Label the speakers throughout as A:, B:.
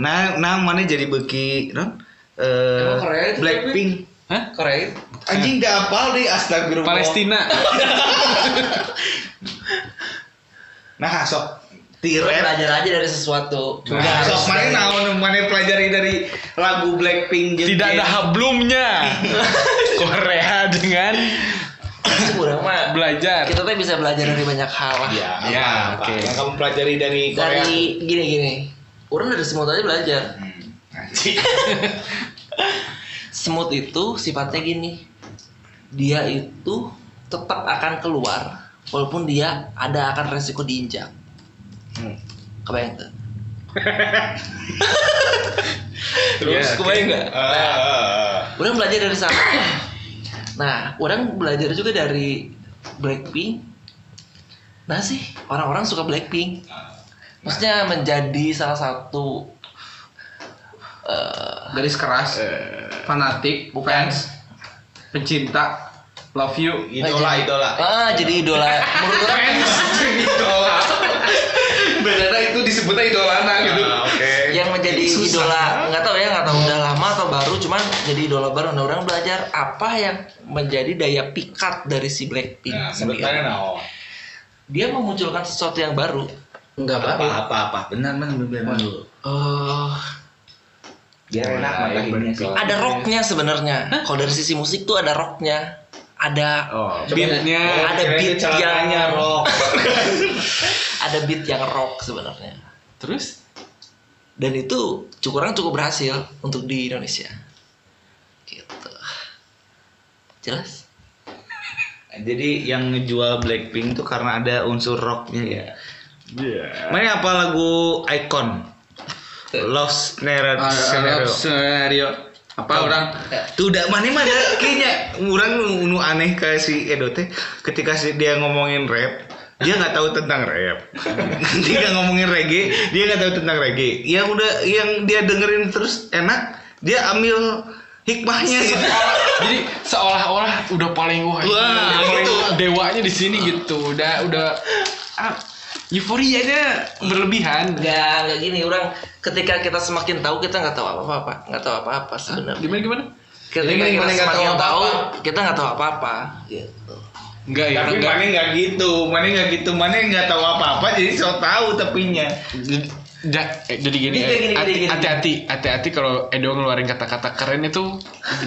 A: Nah, nah mana jadi beki, Ron?
B: Emang Korea
A: Eh,
B: itu
A: Blackpink.
C: Hah?
B: Korea
A: Anjing gak hafal deh astagfirullah.
C: Palestina.
A: Nah, sok
B: Lu
A: tiret.
B: belajar aja dari sesuatu Nggak
C: Nah,
B: harus
A: Sok mana
B: dari-
A: naon mana pelajari dari lagu Blackpink jeung
C: Tidak ada
A: Jennie.
C: hablumnya. Korea dengan
B: Itu kurang mah
C: belajar.
B: kita tuh bisa belajar dari banyak hal lah
A: Ya,
C: Ya,
A: apa,
C: oke.
A: apa. Yang kamu pelajari dari Korea.
B: dari gini gini orang dari semut aja belajar
A: Hmm, anjing.
B: semut itu sifatnya gini dia itu tetap akan keluar walaupun dia ada akan resiko diinjak
A: Hmm.
B: kebayang tuh
C: Terus,
B: Iya, kebayang nggak
A: Ah, ah, ah.
B: orang belajar dari sana nah orang belajar juga dari Blackpink nah sih orang-orang suka Blackpink maksudnya menjadi salah satu eh,
D: garis keras
A: Eh,
D: fanatik fans pencinta love you
A: idola, idola.
B: ah jadi idola menurut orang
A: idola. Benar itu disebutnya idolana gitu. Oke.
B: yang menjadi idola nggak tahu ya nggak tahu udah lama atau baru cuman jadi idola baru nah orang belajar apa yang menjadi daya pikat dari si Blackpink
A: Nah, menurut
B: sendiri
A: kalian naon?
B: dia memunculkan sesuatu yang baru
D: enggak
A: Apa apa apa. Benar benar benar. benar.
B: Eh,
A: Biar enak
C: iya,
A: mata ini sih.
B: ada rocknya sebenarnya kalau dari sisi musik tuh ada rocknya ada
A: Oh,
C: Beatnya.
B: ada beat
A: celananya
B: yang
A: rock.
B: ada beat yang rock sebenarnya
C: Terus?
B: dan itu cukup orang cukup berhasil untuk di Indonesia gitu jelas
A: Jadi yang ngejual Blackpink tuh karena ada unsur rocknya ya. Mana apa lagu Icon? Lost Narrative
D: Ah,
A: Scenario.
D: Arab scenario apa orang
A: Tuh mana mana kayaknya orang nu- nu aneh ke si Edo teh ketika si dia ngomongin rap dia nggak tahu tentang rap ketika ngomongin reggae dia nggak tahu tentang reggae yang udah yang dia dengerin terus enak dia ambil hikmahnya gitu
C: Jadi seolah-olah udah paling wah, ini
A: Wah,
C: udah paling
A: gitu.
C: dewanya di sini gitu. Udah udah ah, euforianya berlebihan.
B: Enggak, enggak gini orang ketika kita semakin tahu kita nggak tahu apa-apa, nggak tahu apa-apa sebenarnya.
C: Gimana gimana?
B: Ketika
A: Jadi
B: kita
A: mana nggak
B: semakin
A: tahu
B: tahu,
A: apa-apa?
B: kita nggak tahu apa-apa. Gitu.
C: Enggak ya,
A: tapi
C: enggak.
A: mana nggak gitu mana nggak gitu mana nggak tahu apa apa jadi so tahu tepinya
C: Jadi- ja- eh, jadi gini,
B: Gini, gini,
C: eh,
B: gini,
C: hati-
B: gini.
C: hati-hati, hati-hati kalau Edo ngeluarin kata-kata keren itu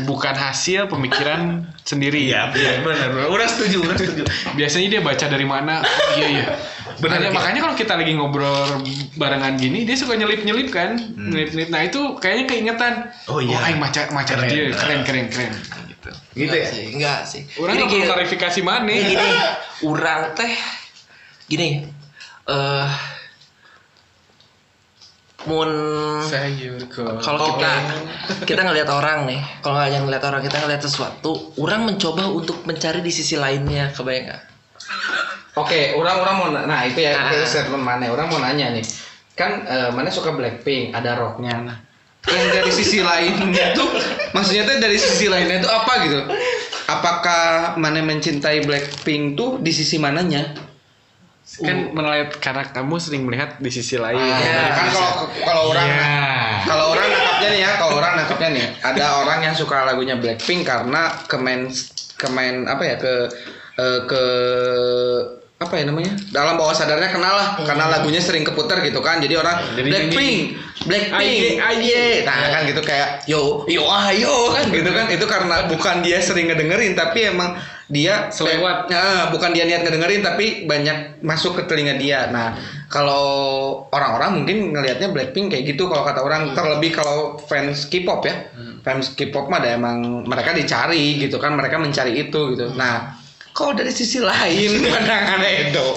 C: bukan hasil pemikiran sendiri.
A: Iya. benar benar udah setuju udah setuju
C: Biasanya dia baca dari mana? Oh, iya iya.
A: Benar,
C: Makanya-
A: iya.
C: makanya kalau kita lagi ngobrol barengan gini, dia suka nyelip-nyelip kan? Nyelip-nyelip. Nah, itu kayaknya keingetan.
A: Hmm. Oh, iya.
C: Oh, ay, maca maca
A: Keren.
C: dia keren keren keren gitu.
A: gitu
D: Iya
B: Nggak
A: ya
B: sih, enggak sih.
C: Orang
B: Jadi gitu.
C: nggak perlu
B: kayak-
C: klarifikasi mana.
B: Ini gini, orang teh gini. Eh mun
C: Sayur kok.
B: kalau kita kita ngelihat orang nih, kalau nggak yang ngelihat orang kita ngelihat sesuatu, orang mencoba untuk mencari di sisi lainnya, kebayang nggak?
D: oke orang orang mau na- nah itu ya
B: Ah.
D: itu statement mana orang mau nanya nih kan eh, mana suka Blackpink ada rocknya nah yang dari sisi lainnya tuh maksudnya tuh dari sisi lainnya tuh apa gitu apakah mana mencintai Blackpink tuh di sisi mananya
C: kan melihat karena kamu sering melihat di sisi lain. Iya.
D: Nah, kan kalau kalau orang
A: Iya.
D: kalau orang nangkapnya nih ya kalau orang nangkapnya nih ada orang yang suka lagunya Blackpink karena kemen kemen apa ya ke eh, ke apa ya namanya dalam bawah sadarnya kenal lah karena lagunya sering keputar gitu kan jadi orang
C: Jadi
D: Blackpink Blackpink
C: Aye, aye.
D: nah kan gitu kayak yo yo ayo kan gitu kan itu karena bukan dia sering ngedengerin tapi emang dia
C: Selewat.
D: Nah, bukan dia niat ngedengerin tapi banyak masuk ke telinga dia. Nah, kalau orang-orang mungkin ngelihatnya Blackpink kayak gitu kalau kata orang terlebih kalau fans K-pop ya. Fans K-pop mah ada emang mereka dicari gitu kan, mereka mencari itu gitu. Nah, kalau dari sisi lain pandangan Edo.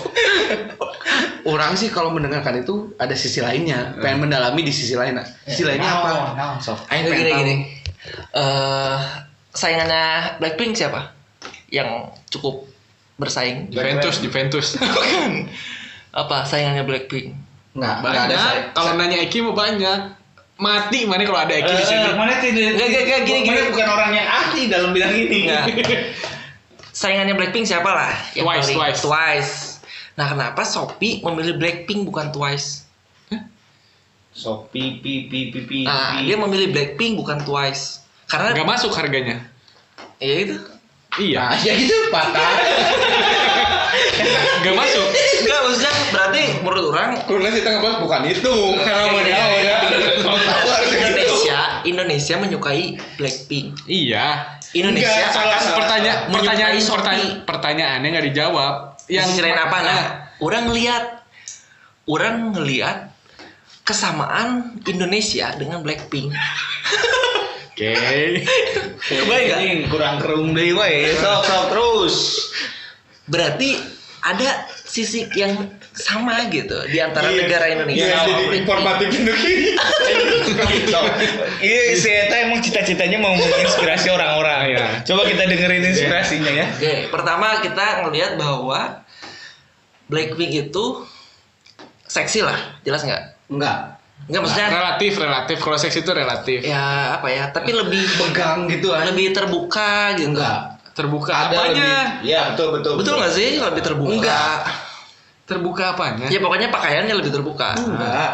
D: orang sih kalau mendengarkan itu ada sisi lainnya, pengen mendalami di sisi lain. Nah, Sisi lainnya apa? Aing
B: Gini
D: pengen
B: gini.
D: tahu.
B: gini. Eh, saingannya Blackpink siapa? Yang cukup bersaing?
C: Juventus, Juventus.
B: Apa saingannya Blackpink?
D: Nggak, nggak ada saya.
C: banyak. Kalau nanya Eki mau banyak. Mati mana kalau
A: Eh,
C: ada Eki di sini.
A: mana tidak
B: Gak, gak, gak, Eh, gini,
A: Mana
B: gini. Iya.
A: bukan orang yang ahli dalam bidang ini
B: Nggak. Saingannya Blackpink siapa lah?
C: Twice,
B: paling-
C: Twice.
B: Nah, kenapa Shopee memilih Blackpink bukan Twice?
A: So pi pi pi pi
C: Iya.
A: pi.
B: Nah,
A: pi.
B: dia memilih Blackpink bukan Twice. Karena
C: Gak masuk harganya.
B: ya itu.
D: Nah,
C: Iya.
D: ya gitu patah.
C: Gak masuk.
B: Enggak, maksudnya berarti menurut orang
D: Kurnas di tengah kelas bukan itu. Iya, Karena mau ya. dia mau dia. Mau tahu harus gitu.
B: Indonesia, Indonesia menyukai Blackpink.
C: Iya.
B: Indonesia
D: Enggak, salah, salah.
C: Pertanya
B: Menyukai
C: pertanyaan
B: Shopee.
C: pertanya pertanyaannya nggak dijawab.
B: yang keren apa nah?
C: Ah,
B: Orang ngelihat orang ngelihat kesamaan Indonesia dengan Blackpink.
C: Oke.
B: Kebayang nggak?
A: Anjing, kurang kerum deh wae. Sok sok terus.
B: Berarti ada sisi yang sama gitu di antara negara Indonesia.
D: Iya,
B: sama
D: jadi
B: Blackpink.
D: informatif Indonesia.
A: Iya, si Eta emang cita-citanya mau menginspirasi orang-orang ya. Coba kita dengerin inspirasinya ya.
B: Oke, pertama kita ngelihat bahwa Blackpink itu seksi lah, jelas nggak?
D: Enggak.
B: Nggak
D: Nah,
B: maksudnya
C: Relatif relatif kalau seks itu
D: kan.
C: relatif.
B: ya apa ya? Tapi lebih
D: Pegang gitu aja.
B: lebih terbuka gitu.
C: Terbuka
D: Ada
C: apanya?
D: lebih.
A: Iya, betul betul.
B: Betul nggak sih lebih terbuka?
D: Enggak.
C: Terbuka apanya?
B: Ya pokoknya pakaiannya lebih terbuka.
D: Enggak.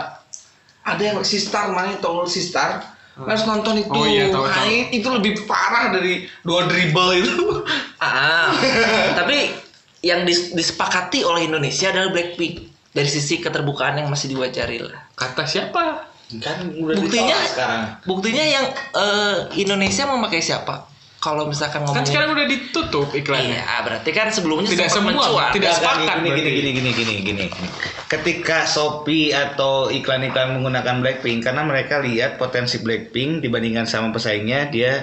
D: Ada yang sistar mana tol sistar.
B: Hmm.
D: Harus nonton itu.
C: Oh iya, tahu, tahu.
D: Nah, itu lebih parah dari dua dribble itu.
B: Ah, tapi yang dis- disepakati oleh Indonesia adalah Blackpink dari sisi keterbukaan yang masih diwajari lah.
C: Kata siapa?
A: Kan udah
B: Buktinya
A: ditolak sekarang.
B: Buktinya yang eh, Indonesia memakai siapa? Kalau misalkan ngomongin
C: Kan sekarang udah ditutup iklannya.
B: Iya, berarti kan sebelumnya
C: Tidak
B: sempat
C: semua,
B: mencuat.
C: tidak
A: Nggak, nggak,
C: sepakat
A: gini, gini,
C: berarti.
A: gini, gini, gini, gini, gini. Ketika Shopee atau iklan-iklan menggunakan Blackpink karena mereka lihat potensi Blackpink dibandingkan sama pesaingnya dia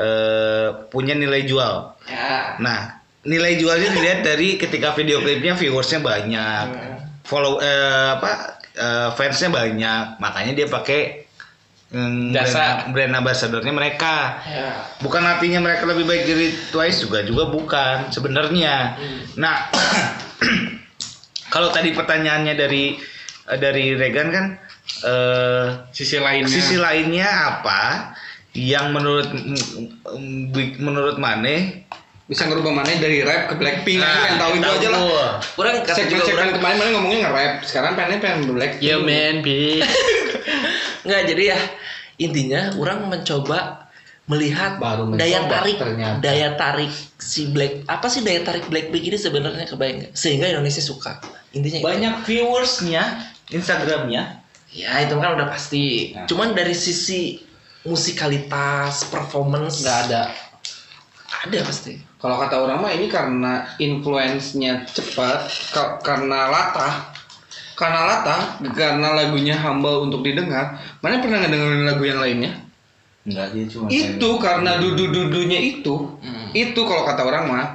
A: eh, punya nilai jual.
C: Ya.
A: Nah, nilai jualnya dilihat dari ketika video klipnya viewersnya banyak,
C: Ya.
A: follow eh, apa eh, fansnya banyak, makanya dia pakai mm,
C: Jasa.
A: brand, brand ambassadornya mereka
B: Ya.
A: bukan artinya mereka lebih baik dari Twice juga juga bukan sebenarnya.
D: Hmm.
A: Nah, kalau tadi pertanyaannya dari eh, dari Regan kan eh
C: Sisi lainnya.
A: sisi lainnya apa yang menurut mm, mm, menurut Mane
D: Bisa ngerubah mana dari rap ke Blackpink. Nah, pengen tahu itu aja lah.
A: Betul.
B: Orang kata juga orang
D: Segmen-segmen kemarin mana ngomongnya nge-rap. Sekarang pengennya pengen Blackpink.
C: Yo man, bitch.
B: nggak jadi ya intinya orang mencoba melihat
D: Baru mencoba,
B: daya tarik
D: ternyata.
B: daya tarik si Black apa sih daya tarik Blackpink ini sebenarnya kebayang nggak? sehingga Indonesia suka intinya itu.
A: banyak viewersnya Instagramnya
B: ya itu kan udah pasti
A: Nah.
B: cuman dari sisi musikalitas performance
D: Nggak ada.
B: ada pasti
D: Kalau kata orang mah ini karena influence-nya cepat, ka- karena latah. Karena latah, karena lagunya humble untuk didengar. Mana pernah ngedengerin lagu yang lainnya?
A: enggak dia cuma
D: itu karena dudu-dudunya itu. Itu kalau kata orang mah.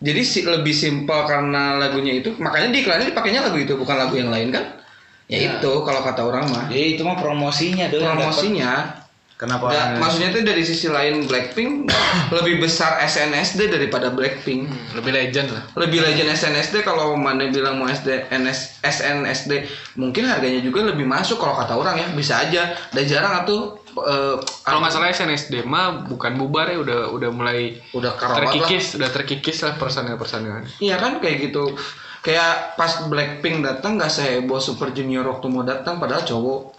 D: Jadi si, lebih simpel karena lagunya itu. Makanya di iklannya dipakainya lagu itu, bukan lagu yang lain kan? Ya, itu kalau kata orang mah.
A: ya itu mah promosinya dong
D: Promosinya
A: kenapa
D: Nggak,
A: orang-
D: maksudnya itu dari sisi lain Blackpink lebih besar SNSD daripada Blackpink.
C: Lebih legend lah.
D: lebih legend SNSD kalau mana bilang mau SD NS, SNSD mungkin harganya juga lebih masuk kalau kata orang ya bisa aja dan jarang atau eh,
C: Kalau nggak salah SNSD mah bukan bubar ya udah udah mulai
D: udah karawat lah
C: terkikis, udah terkikis lah personil-personilnya.
D: iya kan kayak gitu kayak pas Blackpink datang nggak seheboh Super Junior waktu mau datang padahal cowok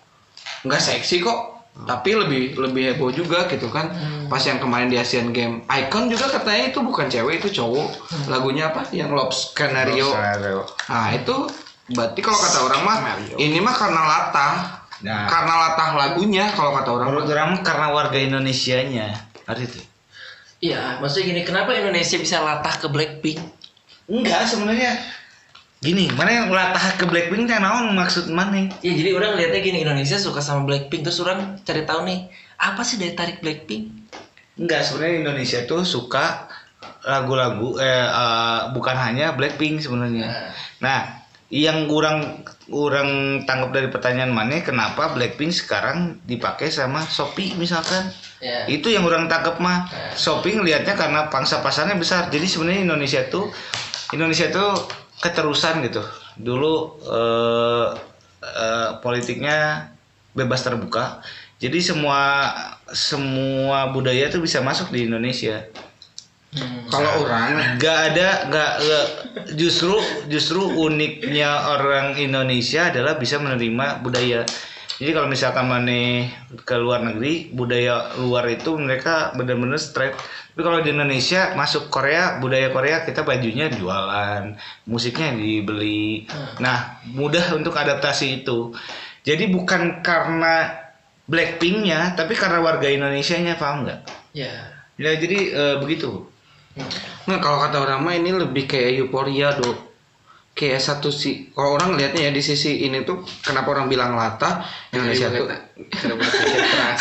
D: nggak seksi kok tapi lebih lebih heboh juga gitu kan pas yang kemarin di Asian Game Icon juga katanya itu bukan cewek itu cowok lagunya apa yang Love Scenario
A: Skenario.
D: Nah itu berarti kalau kata orang mah ini mah karena latah.
A: Nah.
D: Karena latah lagunya kalau kata orang
A: Menurut orang mah karena warga Indonesianya. Ada itu.
B: Iya, maksudnya gini, kenapa Indonesia bisa latah ke Blackpink?
A: Enggak sebenarnya. Gini, mana yang latah ke Blackpink teh naon maksud mana?
B: Ya jadi orang lihatnya gini, Indonesia suka sama Blackpink, terus orang cari tahu nih, apa sih daya tarik Blackpink?
A: Enggak, sebenarnya Indonesia tuh suka lagu-lagu eh eh, bukan hanya Blackpink sebenarnya. Nah, yang kurang kurang tanggap dari pertanyaan mana kenapa Blackpink sekarang dipakai sama Shopee misalkan?
B: Ya.
D: Iya.
A: Itu yang orang tangkap mah. Shopping lihatnya karena pangsa pasarnya besar. Jadi sebenarnya Indonesia tuh Indonesia tuh keterusan gitu. Dulu eh, eh, politiknya bebas terbuka. Jadi semua semua budaya tuh bisa masuk di Indonesia.
D: kalau orang
A: Gak ada gak, gak- justru justru uniknya orang Indonesia adalah bisa menerima budaya. Jadi kalau misalkan mana ke luar negeri, budaya luar itu mereka benar-benar straight. Tapi kalau di Indonesia masuk Korea, budaya Korea kita bajunya jualan, musiknya dibeli. Nah, mudah untuk adaptasi itu. Jadi bukan karena Blackpinknya, tapi karena warga Indonesianya paham nggak?
B: ya
A: Ya jadi eh, begitu.
D: Nah, kalau kata orang mah ini lebih kayak euforia dok. Kayak satu si kalau orang lihatnya ya di sisi ini tuh kenapa orang bilang latah Indonesia tuh
C: Tidak berpikir keras.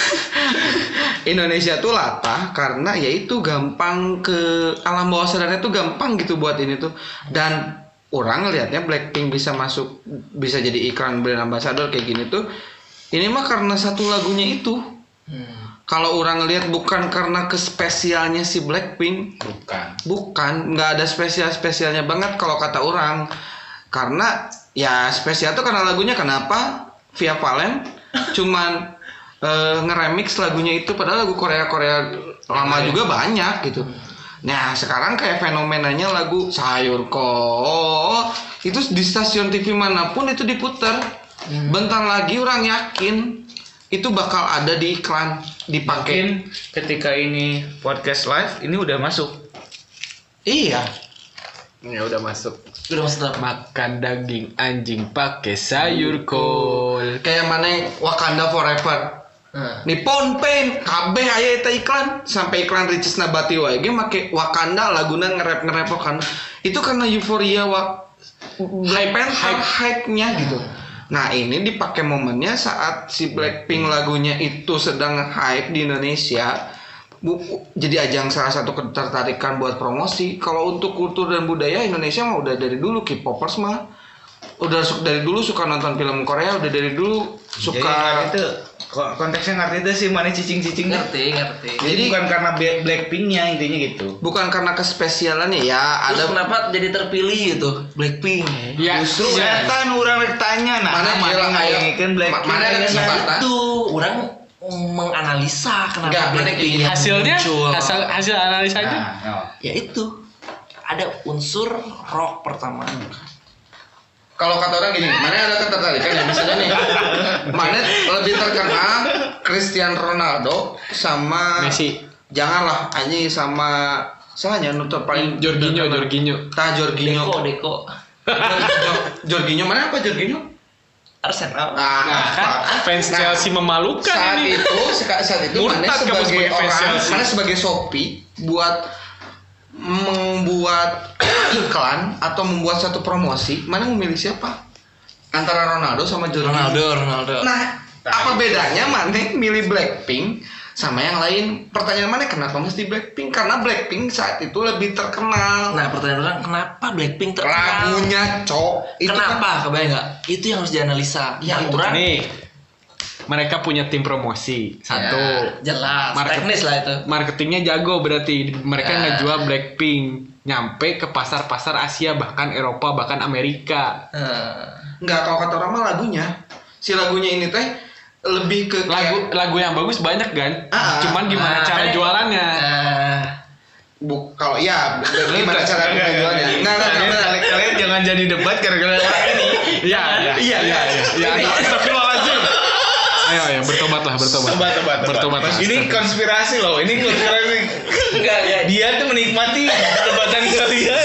D: Indonesia tuh latah karena yaitu gampang ke alam bawah sadarnya tuh gampang gitu buat ini tuh dan orang lihatnya Blackpink bisa masuk bisa jadi iklan brand ambassador kayak gini tuh ini mah karena satu lagunya itu
B: Hmm.
D: kalau orang lihat bukan karena kespesialnya si Blackpink
C: Bukan.
D: Bukan, nggak ada spesial-spesialnya banget kalau kata orang. Karena ya spesial tuh karena lagunya kenapa Via Valen cuman eh, ngeremix lagunya itu padahal lagu Korea-Korea lama juga banyak gitu. Nah, sekarang kayak fenomenanya lagu Sayur Ko itu di stasiun TV manapun itu diputar. Bentar lagi orang yakin itu bakal ada di iklan
A: Mungkin
D: dipakai.
A: ketika ini podcast live, ini udah masuk.
D: Iya.
C: Ya udah masuk.
B: udah masuk dalam
C: Makan daging anjing pakai sayur kol.
D: Kayak mana Wakanda Forever.
B: Nah,
D: Nippon Paint kabeh aya eta iklan sampai iklan Ricis Nabati wae ge make Wakanda laguna ngerep ngerep Wakanda itu karena euforia wa hype hype hype nya gitu nah ini dipakai momennya saat si Blackpink lagunya itu sedang hype di Indonesia Bu- jadi ajang salah satu ketertarikan buat promosi kalau untuk kultur dan budaya Indonesia mah udah dari dulu K-popers mah udah su- dari dulu suka nonton film Korea udah dari dulu
A: Jadi ngarti
D: suka
A: itu ko- konteksnya ngerti itu sih mana cicing-cicing. Jadi,
B: ngerti ngerti
A: Jadi bukan karena Bla- Blackpinknya intinya gitu.
D: bukan karena kespesialannya ya
B: Terus
D: ada
B: kenapa jadi terpilih itu Blackpink
C: Ya,
A: Justru
C: ya.
A: kan orang rek tanya nah
D: Mana
A: mana
D: yang-
A: yang ngikeun Blackpink. gitu.
D: mana yang
A: nya?
D: kesempatan? Bata.
B: itu orang menganalisa
D: Nggak,
B: kenapa
D: mana
B: Blackpink yang
C: hasilnya
B: muncul.
C: hasil hasil
A: Nah,
C: analisanya
A: no.
B: ya itu ada unsur rock pertama
D: kalau kata orang gini mana ada ketertarikan ya misalnya nih mana lebih terkenal Cristiano Ronaldo sama
C: Messi.
D: janganlah anjing sama salahnya nutup paling
C: Hmm, Jorginho, Jorginho.
D: tah Jorginho
B: Deko Deko
D: Jorginho. Jorginho mana apa Jorginho
B: Arsenal
D: nah,
C: Nah, kan fans
D: nah,
C: Chelsea memalukan
D: saat
C: ini.
D: itu seka- saat itu
C: Murtad
D: mana
C: kamu
D: sebagai,
C: sebagai fans
D: orang
C: Chelsea.
D: mana sebagai Shopee buat membuat iklan atau membuat satu promosi mana memilih siapa antara Ronaldo sama Jorginho
B: Ronaldo Ronaldo
D: Nah, apa bedanya Mane milih Blackpink sama yang lain? Pertanyaan Mane kenapa mesti Blackpink? Karena Blackpink saat itu lebih terkenal.
B: nah pertanyaan orang kenapa Blackpink terkenal
D: Lagunya cok. Itu
B: kenapa
D: kan-
B: kebayang nggak itu yang harus dianalisa
D: Ya,
B: Nah,
D: itu
B: orang
C: Nih, mereka punya tim promosi satu.
B: jelas
C: Market-
B: teknis lah
D: Ya.
B: itu
C: Marketingnya jago berarti mereka
B: Ya.
C: ngejual Blackpink nyampe ke pasar-pasar Asia bahkan Eropa bahkan Amerika.
B: Eh,
D: Nggak kalau kata orang mah lagunya. Si lagunya ini teh lebih ke
C: Lagu
D: kayak-
C: lagu yang bagus banyak kan?
D: Ah,
C: Cuman gimana
B: nah,
C: cara
B: kan-
C: jualannya?
B: eh,
D: bu kalau ya gimana
A: Iya,
D: cara penjualannya?
A: Nah,
D: Enggak enggak
A: Kalian-
D: enggak.
A: kalian- Kalian jangan jadi debat gara-gara orang ini.
D: Ya.
C: Iya, iya, iya, iya, iya.
A: Astagfirullahaladzim.
C: Ayo, ayo, bertobatlah, bertobat.
A: Tobat, tobat,
C: Bertobat.
A: tobat. Ini konspirasi loh, ini konspirasi.
B: enggak enggak
A: Dia tuh menikmati perdebatan kalian.
C: Iya.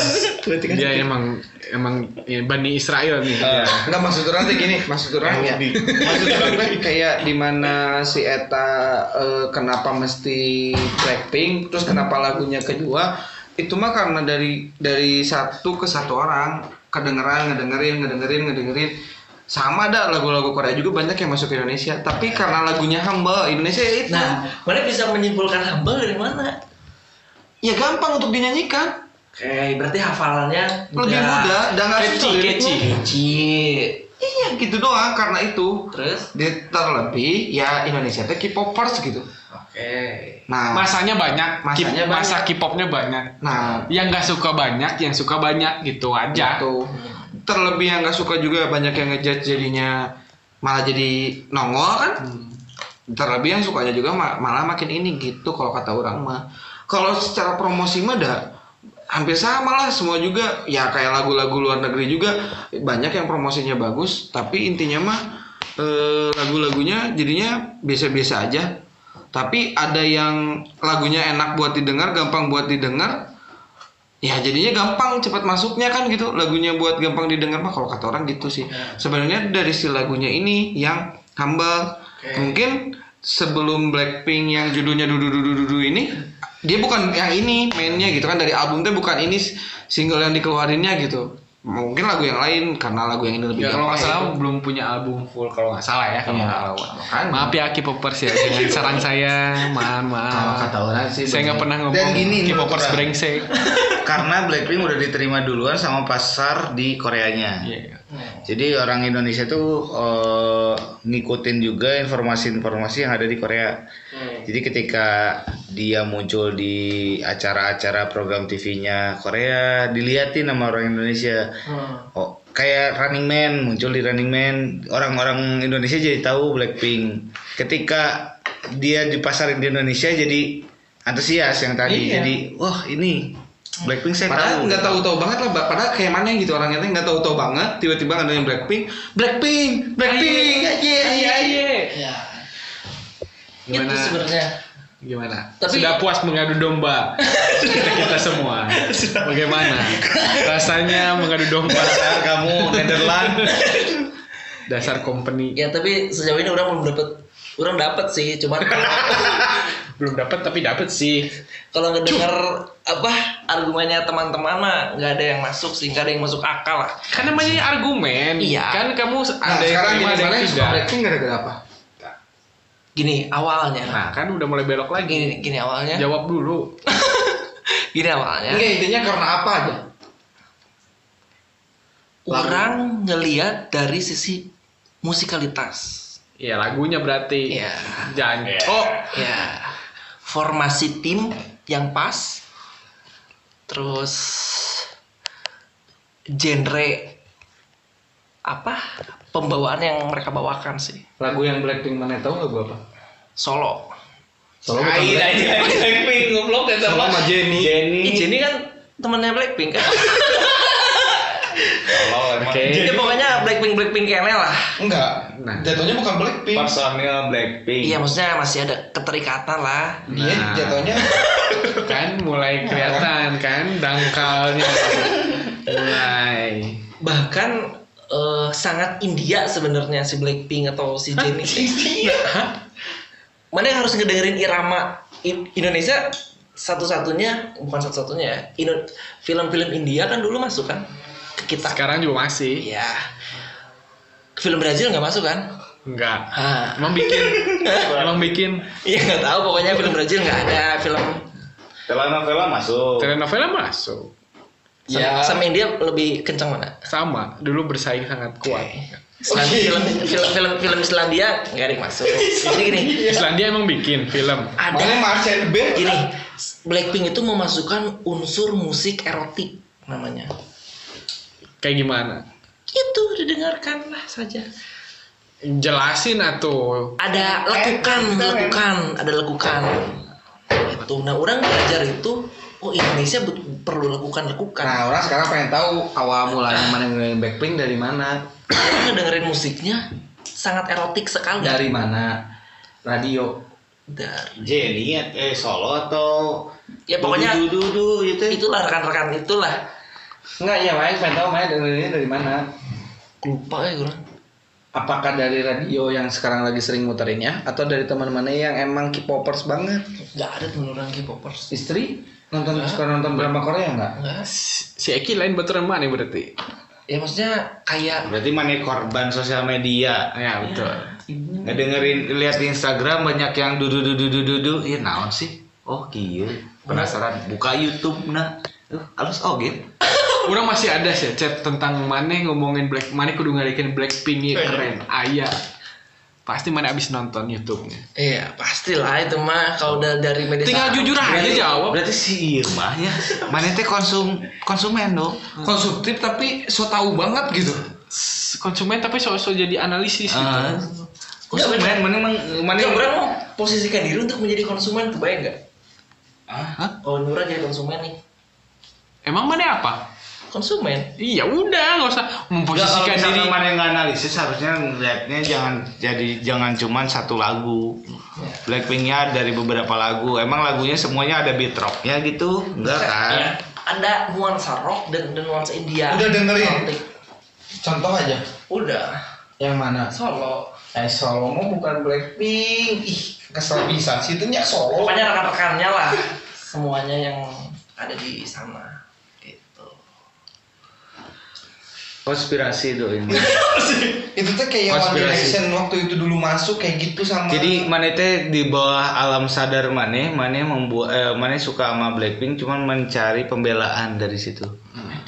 A: kan-
C: dia emang emang ya, bani Israel nih.
A: Ah.
D: Enggak maksud orang tuh gini, maksud orang ya.
A: Yahudi.
D: Maksud orang tuh kan kayak di mana si Eta eh, kenapa mesti Blackpink, terus kenapa lagunya kedua? Itu mah karena dari dari satu ke satu orang kedengeran, ngedengerin, ngedengerin, ngedengerin. Sama ada lagu-lagu Korea juga banyak yang masuk ke Indonesia, tapi karena lagunya humble Indonesia ya itu.
B: nah mana bisa menyimpulkan humble dari mana
D: ya gampang untuk dinyanyikan.
B: Oke, Eh, berarti hafalannya
D: Lebih mudah dan nggak
C: Catchy,
D: susah liriknya.
C: catchy.
B: Kecil.
D: Iya, gitu doang karena itu.
B: Terus?
D: Di- terlebih ya Indonesia teh K-popers gitu.
B: Oke.
D: Nah,
C: Masanya banyak, K-
D: Masanya
C: masa
D: banyak.
C: K-popnya banyak.
D: Nah,
C: Yang nggak suka banyak, yang suka banyak gitu aja.
D: gitu. Terlebih yang nggak suka juga banyak yang ngejudge jadinya malah jadi nongol kan. Terlebih yang sukanya juga ma- malah makin ini gitu kalau kata orang mah. Kalau secara promosi mah dah hampir sama lah semua juga ya kayak lagu-lagu luar negeri juga banyak yang promosinya bagus tapi intinya mah eh, lagu-lagunya jadinya biasa-biasa aja. Tapi ada yang lagunya enak buat didengar, gampang buat didengar. Ya jadinya gampang cepat masuknya kan gitu. Lagunya buat gampang didengar mah kalau kata orang gitu sih. Sebenarnya dari si lagunya ini yang humble. Mungkin sebelum Blackpink yang judulnya dudu dudu dudu ini dia bukan yang ini mainnya gitu kan dari albumnya bukan ini single yang dikeluarinnya gitu. Mungkin lagu yang lain karena lagu yang ini lebih
C: Ya, kalau nggak
D: gampang
C: salah
D: ya.
C: belum punya album full kalau nggak salah ya kalau
D: Iya.
C: nggak salah.
D: Makanya.
C: Maaf ya K-popers ya dengan saran saya, maaf
D: Kalau
C: maaf.
D: kata orang sih
C: Saya nggak
D: bener.
C: pernah
A: Dan
C: ngomong
A: gini, menurut
C: K-popers
A: orang.
C: brengsek.
A: Karena Blackpink udah diterima duluan sama pasar di Koreanya.
C: Iya.
A: Jadi orang Indonesia tuh eh, ngikutin juga informasi-informasi yang ada di Korea.
D: Hmm.
A: Jadi ketika dia muncul di acara-acara program TV-nya Korea, diliatin sama orang Indonesia.
D: Hmm.
A: Oh, kayak Running Man muncul di Running Man, orang-orang Indonesia jadi tahu Blackpink. Ketika dia dipasarin di Indonesia jadi antusias yang tadi.
D: Iya.
A: Jadi, wah ini Blackpink saya
D: Padahal
A: tahu.
D: nggak tahu-tahu banget lah, Mbak. padahal kayak mana gitu orangnya tuh nggak tahu-tahu banget, tiba-tiba ada yang Blackpink, Blackpink, Blackpink, aja, aja, aja.
B: Ya.
C: Gimana?
B: Itu Gitu sebenarnya.
C: Gimana?
B: Tapi-
C: Sudah puas mengadu domba kita kita semua. Bagaimana? Rasanya mengadu domba
A: Dasar kamu Netherland.
C: dasar company
B: Ya tapi sejauh ini orang belum dapat orang dapat sih cuman
C: belum dapat tapi dapat sih.
B: kalau ngedenger apa argumennya teman-teman mah nggak ada yang masuk sih nggak ada yang masuk akal lah
C: Kan namanya argumen.
B: Iya.
C: Kan kamu
D: Nah,
C: ada yang
D: sekarang
C: terima
D: gini,
C: ada yang
D: sebenarnya suka
C: tidak.
D: Blackpink gara-gara apa?
B: gini awalnya
C: Nah, kan udah mulai belok lagi.
B: gini gini
D: Iya.
B: awalnya
C: Jawab dulu.
B: gini awalnya
D: Enggak, intinya karena apa aja?
B: orang ngeliat dari sisi musikalitas
C: Iya, lagunya berarti.
D: Iya.
B: ya
C: Jangan. Oh,
B: ya formasi tim yang pas terus genre apa pembawaan yang mereka bawakan sih
D: Lagu yang Blackpink mana tahu nggak gua apa?
B: solo
D: Solo bukan Blackpink.
A: Blackpink goblok kata
D: Solo sama
B: Ih,
D: Jennie.
A: Jenny.
B: Jennie kan temennya Blackpink kan
C: oke.
B: Jadi pokoknya Blackpink Blackpink yang lain lah.
D: Enggak.
C: Nah.
D: Jatuhnya bukan Blackpink.
A: Personil Blackpink.
B: Iya maksudnya masih ada keterikatan lah.
D: Dia
C: Nah.
D: iya, jatuhnya
C: Kan mulai kelihatan kan dangkalnya. mulai.
B: Bahkan eh, sangat India sebenarnya si Blackpink atau si Jennie. India. Mana yang harus ngedengerin irama I- Indonesia satu-satunya bukan satu-satunya ya. Indo- film-film India kan dulu masuk kan ke kita.
C: Sekarang juga masih.
B: Iya. Film Brazil nggak masuk kan?
C: Enggak.
B: Ah.
C: Emang bikin. Emang bikin.
B: Iya nggak tahu pokoknya film Brazil nggak ada film
A: Telenovela masuk.
C: Telenovela masuk.
B: sama,
D: Ya.
B: sama India lebih kencang mana?
C: Sama. Dulu bersaing sangat kuat.
B: Selandia,
D: Oke.
B: film, film film film Islandia nggak ada yang masuk. Jadi gini,
C: Islandia emang bikin film.
B: ada
D: makanya Marcel B.
B: gini, Blackpink itu memasukkan unsur musik erotik namanya.
C: Kayak gimana?
B: Itu didengarkanlah saja.
C: Jelasin atuh.
B: Ada lekukan,
D: Eh,
B: lekukan, ada lekukan. Itu. Nah, orang belajar itu, oh Indonesia but- perlu lakukan
D: Nah,
B: lekukan.
D: orang sekarang pengen tahu awal mulanya mana yang Blackpink dari mana?
B: Orang ngedengerin musiknya sangat erotik sekali.
D: Dari mana? Radio.
B: Dari-
A: Jenny eh Solo atau
B: Ya, pokoknya-
A: Dudu Dudu gitu.
B: Itulah rekan-rekan itulah.
D: Enggak ya, Maya pengen tahu Maya dengerinnya dari mana?
B: Lupa ya orang.
D: Apakah dari radio yang sekarang lagi sering muterinnya atau dari teman-temannya yang emang K-popers banget?
B: Gak ada temen orang K-popers.
D: Istri nonton suka nonton drama Korea nggak?
B: Nggak ada.
C: Si si Eki lain baturan mana berarti?
B: Ya maksudnya kayak
A: Berarti mana korban sosial media? Iya.
C: Ya betul.
A: Ngedengerin lihat di Instagram banyak yang dudu dudu dudu dudu. Iya naon sih? Oh kieu. Penasaran buka YouTube nah. Uh, alus oge.
C: Orang masih ada sih chat tentang mana ngomongin Black, mana kudu ngarikin Blackpink ya keren, ayah. Pasti mana abis nonton YouTube-nya.
B: Iya pastilah itu mah kalau udah dari media
C: Tinggal
B: sosial.
C: jujur aja jawab.
A: Berarti si Irma ya. Mana teh konsum konsumen dong.
D: Konsumtif tapi so tahu banget gitu.
C: S- Konsumen tapi sok-sok jadi analisis gitu.
A: Ah.
B: Nggak,
A: Konsumen mana emang mana
B: Nggak, orang mau posisikan diri untuk menjadi konsumen kebayang nggak?
A: Hah?
B: Kalau Nura jadi konsumen nih
C: Emang mana apa?
B: konsumen
C: Iya udah nggak usah
A: Nggak, kalau
C: memposisikan
A: misalkan
C: diri.
A: mana yang analisis harusnya ngeliatnya jangan jadi jangan cuman satu lagu. Blackpinknya dari beberapa lagu. Emang lagunya semuanya ada beat rocknya gitu? Enggak kan?
B: Ya, ada nuansa rock dan, dan nuansa India
D: Udah dengerin?
B: Cantik.
D: Contoh aja.
B: udah
D: Yang mana?
B: solo
D: Eh Solo mah bukan Blackpink. Ih, kesel bisa. Situnya Solo.
B: pokoknya rekan-rekannya lah semuanya yang ada di sana gitu
A: Konspirasi itu ini.
D: Itu tuh kayak One
A: Konspirasi.
D: Direction waktu itu dulu masuk kayak gitu sama.
A: Jadi Mane teh di bawah alam sadar Mane, Mane membuat eh, Mane suka sama Blackpink cuman mencari pembelaan dari situ. Hmm.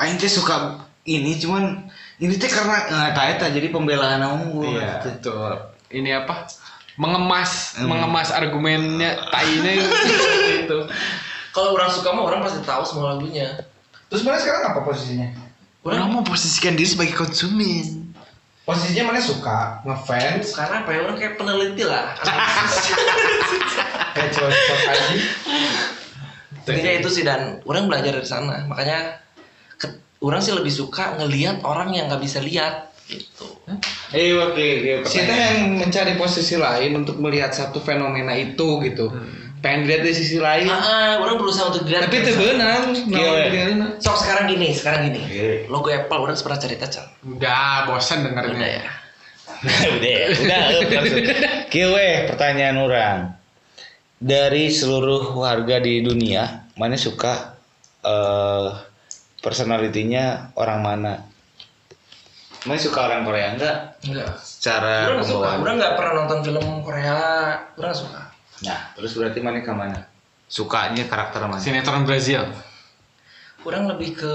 A: Aing teh suka ini cuman ini teh karena nggak tahu eta, jadi pembelaan unggul.
C: Iya
A: gitu.
C: betul. Ini apa? Mengemas,
D: Hmm.
C: mengemas argumennya tainya Gitu. itu.
B: kalau orang suka mah orang pasti tahu semua lagunya
D: Terus mana sekarang apa posisinya?
C: Orang mau posisikan diri sebagai konsumen.
D: Posisinya mana suka ngefans
B: karena apa ya orang kayak peneliti lah analisis.
D: kayak cocok aja.
B: intinya itu sih dan orang belajar dari sana makanya ke- orang sih lebih suka ngelihat orang yang nggak bisa lihat gitu
A: Eh oke, iya, pertanyaan.
D: Sita yang mencari posisi lain untuk melihat satu fenomena itu gitu.
A: Hmm.
D: Pengen dilihat dari sisi lain.
B: ah, ah, orang berusaha untuk dilihat
D: Iya. Tapi itu benar.
A: Iya.
B: sok sekarang gini sekarang gini
A: Iya.
B: logo Apple orang pernah cerita cal
C: Udah bosan
B: udah
D: Hmm.
C: dengernya.
B: ya
A: udah, eh, udah. Kiwe pertanyaan orang. Dari seluruh warga di dunia, mana suka eh personalitinya orang mana? Mana suka orang Korea enggak?
B: enggak
A: Secara
B: orang nggak suka
A: pembawaan.
B: orang nggak pernah nonton film Korea orang nggak suka
A: Nah, terus berarti mana ke mana? Sukanya karakter mana?
C: Sinetron Brazil.
B: orang lebih ke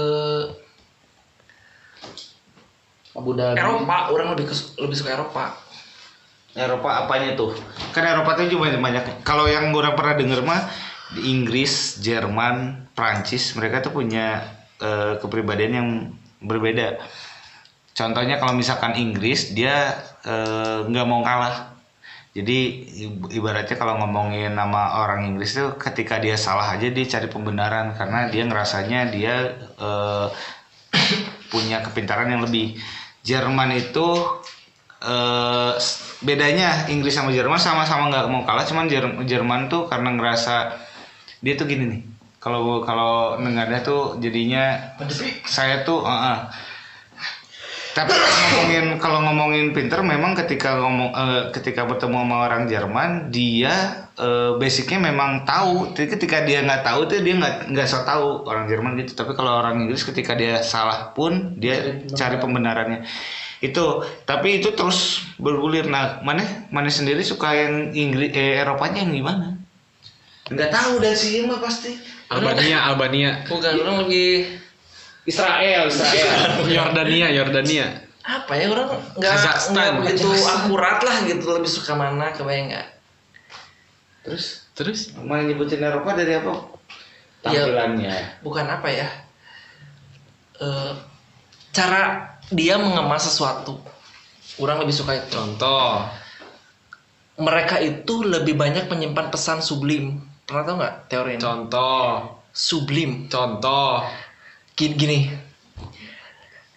D: Abu Dhabi.
B: Eropa orang lebih ke lebih suka Eropa
A: Eropa apanya tuh? Kan Eropa tuh cuma banyak. Kalau yang gue pernah denger mah di Inggris, Jerman, Prancis mereka tuh punya eh, kepribadian yang berbeda. Contohnya kalau misalkan Inggris dia eh, nggak mau kalah. Jadi i- ibaratnya kalau ngomongin nama orang Inggris tuh ketika dia salah aja dia cari pembenaran karena dia ngerasanya dia eh, punya kepintaran yang lebih. Jerman itu eh, s- bedanya Inggris sama Jerman sama-sama nggak mau kalah, cuman Jer- Jerman tuh karena ngerasa dia tuh gini nih. Kalau kalau nengadah tuh jadinya saya tuh eh, eh. tapi kalau ngomongin kalau ngomongin pinter memang ketika ngomong eh, ketika bertemu sama orang Jerman dia eh, basicnya memang tahu tapi ketika dia nggak tahu tuh dia nggak nggak so tahu orang Jerman gitu tapi kalau orang Inggris ketika dia salah pun dia cari pembenarannya itu tapi itu terus bergulir nah mana mana sendiri suka yang Inggris eh, Eropanya yang gimana nggak tahu dan sih mah pasti
C: Albania, Albania.
B: bukan orang lebih
A: Israel Israel
C: Yordania, Yordania.
B: apa ya orang nggak
C: Kazakhstan.
B: nggak begitu
C: Kazakhstan.
B: akurat lah gitu lebih suka mana kebayang nggak
A: terus
C: Terus?
A: Mau nyebutin Eropa dari apa?
B: Iya.
A: Tampilannya.
B: bukan apa ya Eh cara dia mengemas sesuatu orang lebih suka itu
C: Contoh.
B: mereka itu lebih banyak menyimpan pesan sublim pernah tau nggak teori ini
C: Contoh.
B: sublim
C: Contoh.
B: gini, gini.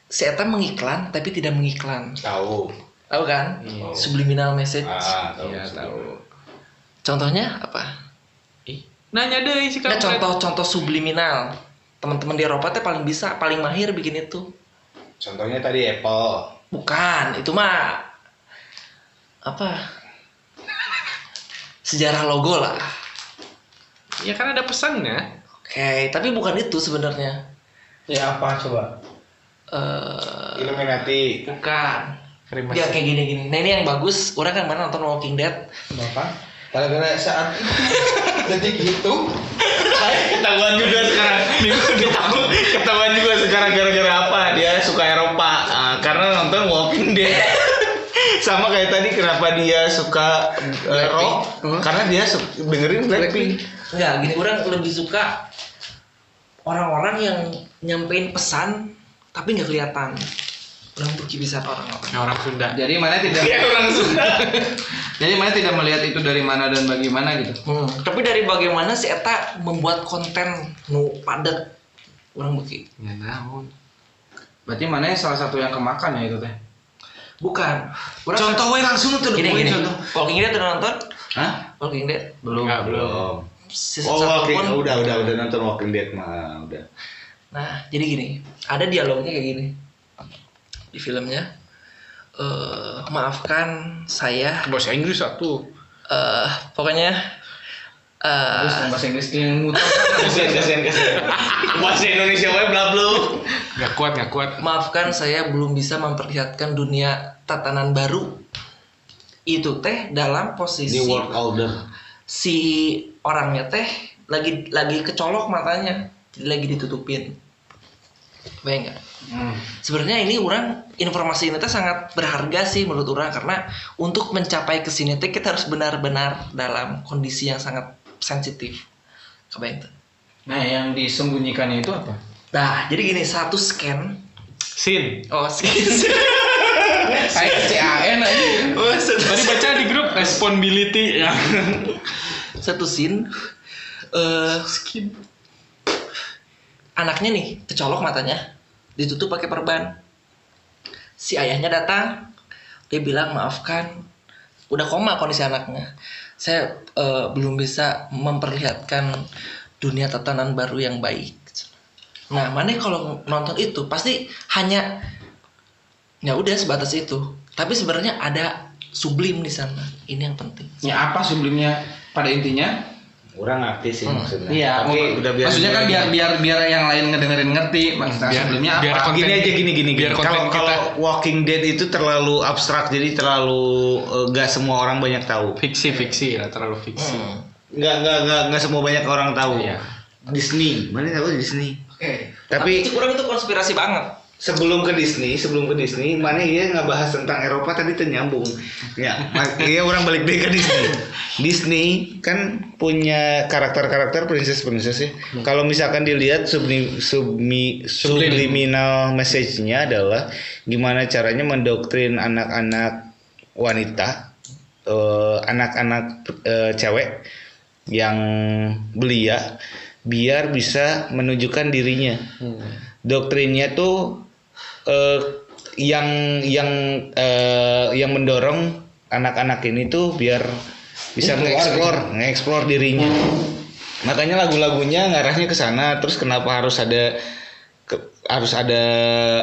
B: si Eta mengiklan tapi tidak mengiklan
A: Tahu. Ah,
B: tahu kan
D: Oh.
B: subliminal message
D: Ah.
A: tahu.
C: Iya, tahu.
B: contohnya apa
C: Nanya deh sih
B: Nah, contoh-contoh subliminal teman-teman di Eropa teh paling bisa paling mahir bikin itu
A: Contohnya tadi Apple.
B: Bukan, itu mah apa? Sejarah logo lah.
C: Ya kan ada pesannya.
B: Oke, tapi bukan itu sebenarnya.
D: Ya apa coba?
B: eh
A: Illuminati.
B: bukan.
C: Krim
B: Ya kayak gini-gini. Nah ini yang bagus. Orang kan mana nonton Walking Dead?
D: Kenapa? Gara-gara saat itu, detik itu
A: Ketahuan juga sekarang. Ketahuan, ketahuan juga sekarang gara-gara apa? Dia suka Eropa Ah, karena nonton Walking Dead. Sama kayak tadi kenapa dia suka eh, rock? Karena dia su- dengerin Blackpink.
B: Enggak, gini orang lebih suka orang-orang yang nyampein pesan tapi nggak kelihatan. Orang tuh kibisan orang-orang.
C: Ya, orang Sunda.
D: Jadi mana tidak
A: orang Sunda.
D: Jadi mana tidak melihat itu dari mana dan bagaimana gitu.
B: Hmm, tapi dari bagaimana si Eta membuat konten nu padat orang beki
C: Ya naon.
D: Berarti mana salah satu yang kemakan ya itu teh?
B: bukan orang
A: Contoh we langsung tuh
B: gini
A: poin
B: gini
A: contoh.
B: Walking Dead udah nonton
A: Hah?
B: Walking Dead
D: Belum.
C: Enggak, belum.
A: Belum.
B: season
A: Oh,
B: satu
A: oke,
B: pun
A: udah udah udah nonton Walking Dead mah udah.
B: Nah, jadi gini, ada dialognya kayak gini di filmnya. eh maafkan saya,
C: Bahasa Inggris satu.
B: eh pokoknya
D: Terus
B: eh
D: yang bahasa Inggris yang muter.
A: Kasian kasian kasian. Bahasa Indonesia we blablu.
C: Enggak kuat, enggak kuat.
B: maafkan saya belum bisa memperlihatkan dunia tatanan baru. Itu teh dalam posisi
A: New World Order.
B: si orangnya teh lagi lagi kecolok matanya, jadi lagi ditutupin. Bayang nggak?
D: Hmm.
B: Sebenarnya ini orang informasi ini teh sangat berharga sih menurut orang karena untuk mencapai ke sini teh kita harus benar-benar dalam kondisi yang sangat sensitif. Kebayang tuh.
D: Nah, yang disembunyikannya itu apa?
B: Nah, jadi gini satu scan.
C: Sin.
B: Oh, scan.
D: Kayak CAN aja.
B: oh, satu,
C: Tadi baca di grup responsibility ya.
B: satu scene eh
C: Skin.
B: anaknya nih kecolok matanya, ditutup pakai perban. Si ayahnya datang, dia bilang maafkan, udah koma kondisi anaknya. Saya eh, belum bisa memperlihatkan dunia tatanan baru yang baik. Nah, mana kalau nonton itu pasti hanya ya udah sebatas itu. Tapi sebenarnya ada sublim di sana. Ini yang penting.
D: Ya apa sebelumnya? Pada intinya,
A: Orang ngerti sih
B: Hmm.
A: maksudnya.
D: iya.
A: Tapi
D: oh,
A: udah biar
D: maksudnya kan biar biar biar yang lain ngedengerin ngerti.
C: Biar-
D: Maksudnya nah, sebelumnya
C: biar
D: apa?
C: konten-
A: gini aja gini gini gini.
C: biar konten
A: Kalau
C: kita-
A: kalau Walking Dead itu terlalu abstrak jadi terlalu eh, nggak semua orang banyak tahu.
C: Fiksi, fiksi ya, terlalu
A: Hmm.
C: fiksi.
A: Nggak nggak nggak nggak semua banyak orang tahu.
C: Iya.
A: Disney, mana tahu Disney.
B: Oke.
A: Tapi-
B: Tapi, kurang itu konspirasi banget.
A: sebelum ke Disney, sebelum ke Disney, mana dia nggak bahas tentang Eropa tadi ternyambung. Ya, mak- iya orang balik deh ke Disney. Disney kan punya karakter-karakter princess-princess ya. Kalau misalkan dilihat subli, submi, subliminal message-nya adalah gimana caranya mendoktrin anak-anak wanita, eh, anak-anak eh, cewek yang belia biar bisa menunjukkan dirinya doktrinnya tuh eh, yang yang eh, yang mendorong anak-anak ini tuh biar bisa mengeksplor mengeksplor dirinya makanya lagu-lagunya ngarahnya ke sana terus kenapa harus ada ke- harus ada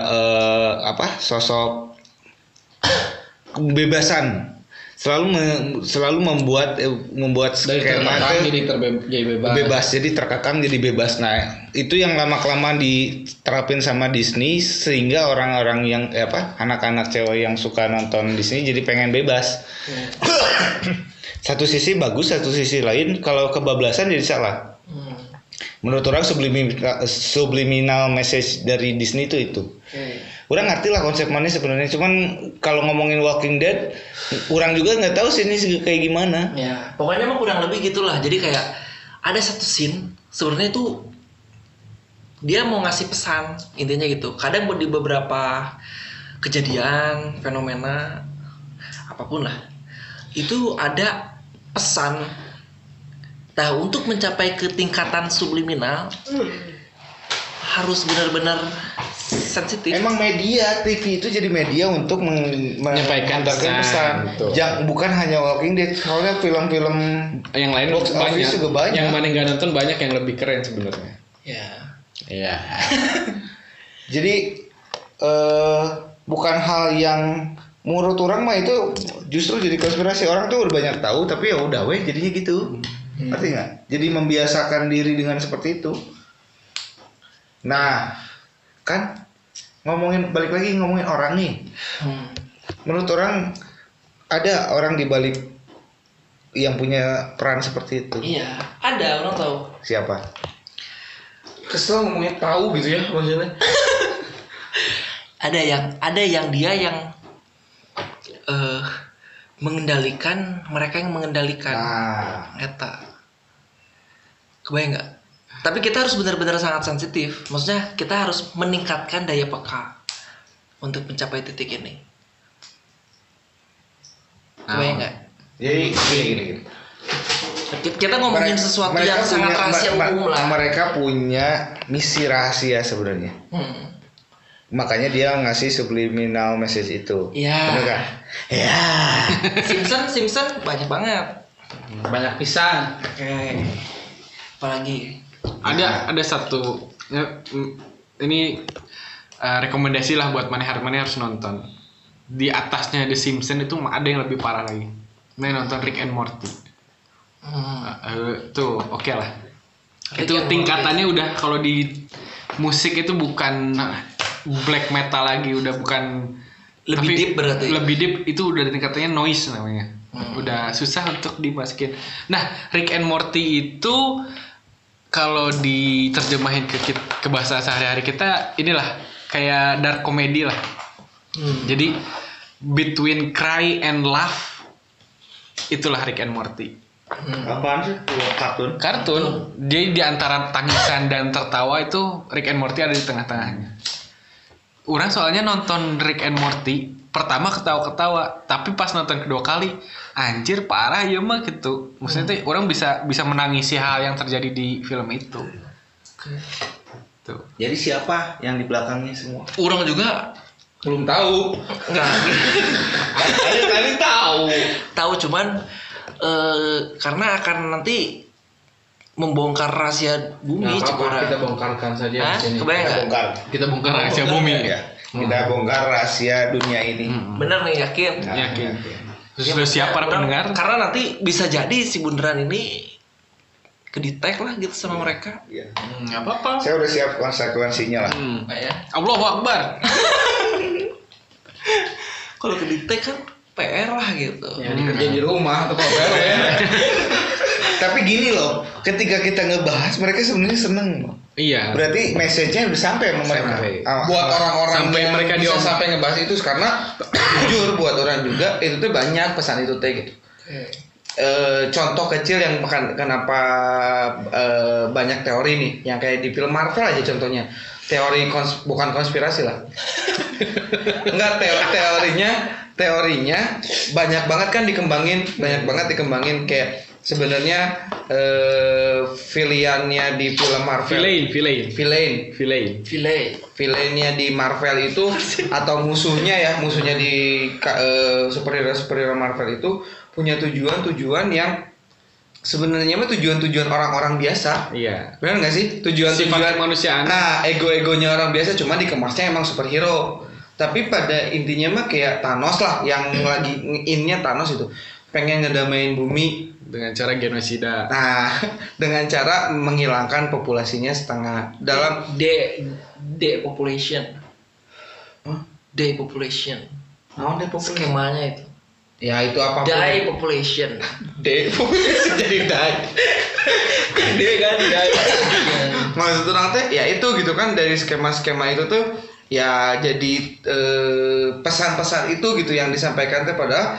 A: eh, apa sosok kebebasan selalu me- selalu membuat eh, membuat
D: Dari
A: skema
D: tertekan
A: tuh-
D: jadi terbe- jadi bebas.
A: bebas jadi terkekang jadi bebas nah itu yang lama kelamaan diterapin sama Disney sehingga orang-orang yang eh, apa anak-anak cewek yang suka nonton Disney jadi pengen bebas satu sisi bagus satu sisi lain kalau kebablasan jadi salah
B: Hmm.
A: menurut orang subliminal, subliminal message dari Disney itu itu Orang ngerti lah konsep mana sebenarnya, cuman kalau ngomongin Walking Dead, orang juga nggak tahu sih ini segi- kayak gimana.
B: Ya, pokoknya emang kurang lebih gitulah. Jadi kayak ada satu scene sebenarnya itu dia mau ngasih pesan intinya gitu. Kadang di beberapa kejadian, fenomena apapun lah itu ada pesan. Nah, untuk mencapai ke tingkatan subliminal harus benar-benar sensitif.
A: Emang media TV itu jadi media untuk meng-
C: Menyampaikan
A: mengantarkan
C: pesan, betul.
A: Jangan bukan hanya Walking Dead, soalnya film-film
C: Yang lain
A: Box
C: banyak.
A: office juga banyak.
C: Yang mana nggak nonton banyak yang lebih keren sebenarnya.
B: Ya.
C: Iya.
A: jadi eh bukan hal yang menurut orang mah itu justru jadi konspirasi orang tuh udah banyak tahu tapi ya udah weh jadinya gitu. Ngerti nggak? Jadi membiasakan diri dengan seperti itu. Nah, kan ngomongin balik lagi ngomongin orang nih.
B: Hmm.
A: menurut orang ada orang di balik yang punya peran seperti itu
B: Iya, ada orang tahu.
A: siapa
D: Kesel ngomongnya tahu gitu ya maksudnya.
B: ada yang ada yang dia yang eh mengendalikan mereka yang mengendalikan
A: nah
B: eta kebayang nggak tapi kita harus benar-benar sangat sensitif maksudnya kita harus meningkatkan daya peka untuk mencapai titik ini kebayang nggak
A: Nah. jadi gini gini, gini.
B: Kita- Kita ngomongin
A: Mereka-
B: sesuatu
A: mereka
B: yang sangat
A: punya-
B: rahasia
A: mer-
B: umum lah.
A: Mereka punya misi rahasia sebenarnya.
B: Hmm.
A: Makanya dia ngasih subliminal message itu.
B: Iya.
A: Bener kan? Ya.
B: Simpson, Simpson banyak banget.
D: Banyak pisan.
B: Oke. Apalagi
C: ada ada satu ya, mm, ini eh, rekomendasi lah buat maneh maneh harus nonton di atasnya The Simpsons itu ada yang lebih parah lagi Nah nonton Rick and Morty
B: hmm,
C: Eh, tuh oke lah
B: Rick
C: itu
B: and iya.
C: tingkatannya udah kalau di musik itu bukan black metal lagi udah bukan
B: Lebih
C: tapi
B: deep berarti.
C: lebih deep itu udah tingkatannya noise namanya
B: Hmm.
C: udah susah untuk dimasukin nah Rick and Morty itu kalau diterjemahin ke kit- ke bahasa sehari-hari kita inilah kayak dark comedy lah
B: hmm.
C: jadi between cry and laugh itulah Rick and Morty
A: Apaan sih? Kartun.
C: kartun dia di antara tangisan dan tertawa itu Rick and Morty ada di tengah-tengahnya. Orang soalnya nonton Rick and Morty pertama ketawa-ketawa, tapi pas nonton kedua kali anjir parah ya mah gitu. Maksudnya tuh orang bisa bisa menangisi hal yang terjadi di film itu.
B: Oke.
C: Tuh.
A: Jadi siapa yang di belakangnya semua?
B: Orang juga
D: Belum tahu.
B: nggak
D: Kali kali tahu.
B: tahu cuman eh, karena akan nanti membongkar rahasia bumi
E: Nggak apa-apa,
B: Cikora.
E: kita bongkarkan saja
B: Hah?
E: di sini.
B: Kebayang
A: Kita
B: nggak?
A: bongkar.
C: Kita bongkar Iya. rahasia bumi.
A: Ya. Kita
B: Hmm.
A: bongkar rahasia dunia ini.
B: Bener nih yakin.
A: Nah,
C: Yakin.
B: iya.
A: ya.
C: Terus lu siap para
B: Orang-
C: pendengar?
B: Karena nanti bisa jadi si bundaran ini kedetek lah gitu sama mereka.
A: Ya.
C: Hmm, nggak apa-apa.
A: Saya udah siap konsekuensinya lah.
C: Hmm.
B: Nah, ya.
C: Allahu Akbar.
B: Kalau kedetek kan PR lah gitu.
E: Ya,
C: Hmm.
E: dikerjain di rumah atau apa
A: Tapi gini loh, ketika kita ngebahas mereka sebenarnya seneng. loh.
C: Iya.
A: Berarti message-nya udah sampai sama mereka.
C: Sampai.
A: Ah,
D: Buat orang-orang
C: Sampai
D: yang
C: mereka
D: bisa
C: diom-
D: sampai ngebahas itu karena jujur buat orang juga itu tuh banyak pesan itu teh gitu. Eh, contoh kecil yang ken- kenapa eh, banyak teori nih yang kayak di film Marvel aja contohnya teori kons- bukan konspirasi lah enggak teo- teorinya teorinya banyak banget kan dikembangin banyak banget dikembangin kayak sebenarnya eh filiannya di film Marvel
C: Villain, villain,
D: villain
C: villain.
B: Vile.
D: villainnya di Marvel itu atau musuhnya ya musuhnya di ka- eh, superhero superhero Marvel itu punya tujuan-tujuan yang sebenarnya mah tujuan-tujuan orang-orang biasa
C: Iya.
D: benar nggak sih tujuan-tujuan
C: Sifat kemanusiaan.
D: nah ego-egonya orang biasa cuma dikemasnya emang superhero tapi pada intinya mah kayak Thanos lah yang lagi innya Thanos itu pengen ngedamain bumi
C: dengan cara genosida.
D: nah dengan cara menghilangkan populasinya setengah dalam
B: de depopulation. Depopulation.
D: Naon deh populasi?
B: Skemanya itu.
D: ya itu apa
B: Die population.
D: D jadi dai D kan dai maksud orang teh ya itu gitu kan dari skema-skema itu tuh ya jadi eh, pesan-pesan itu gitu yang disampaikan teh pada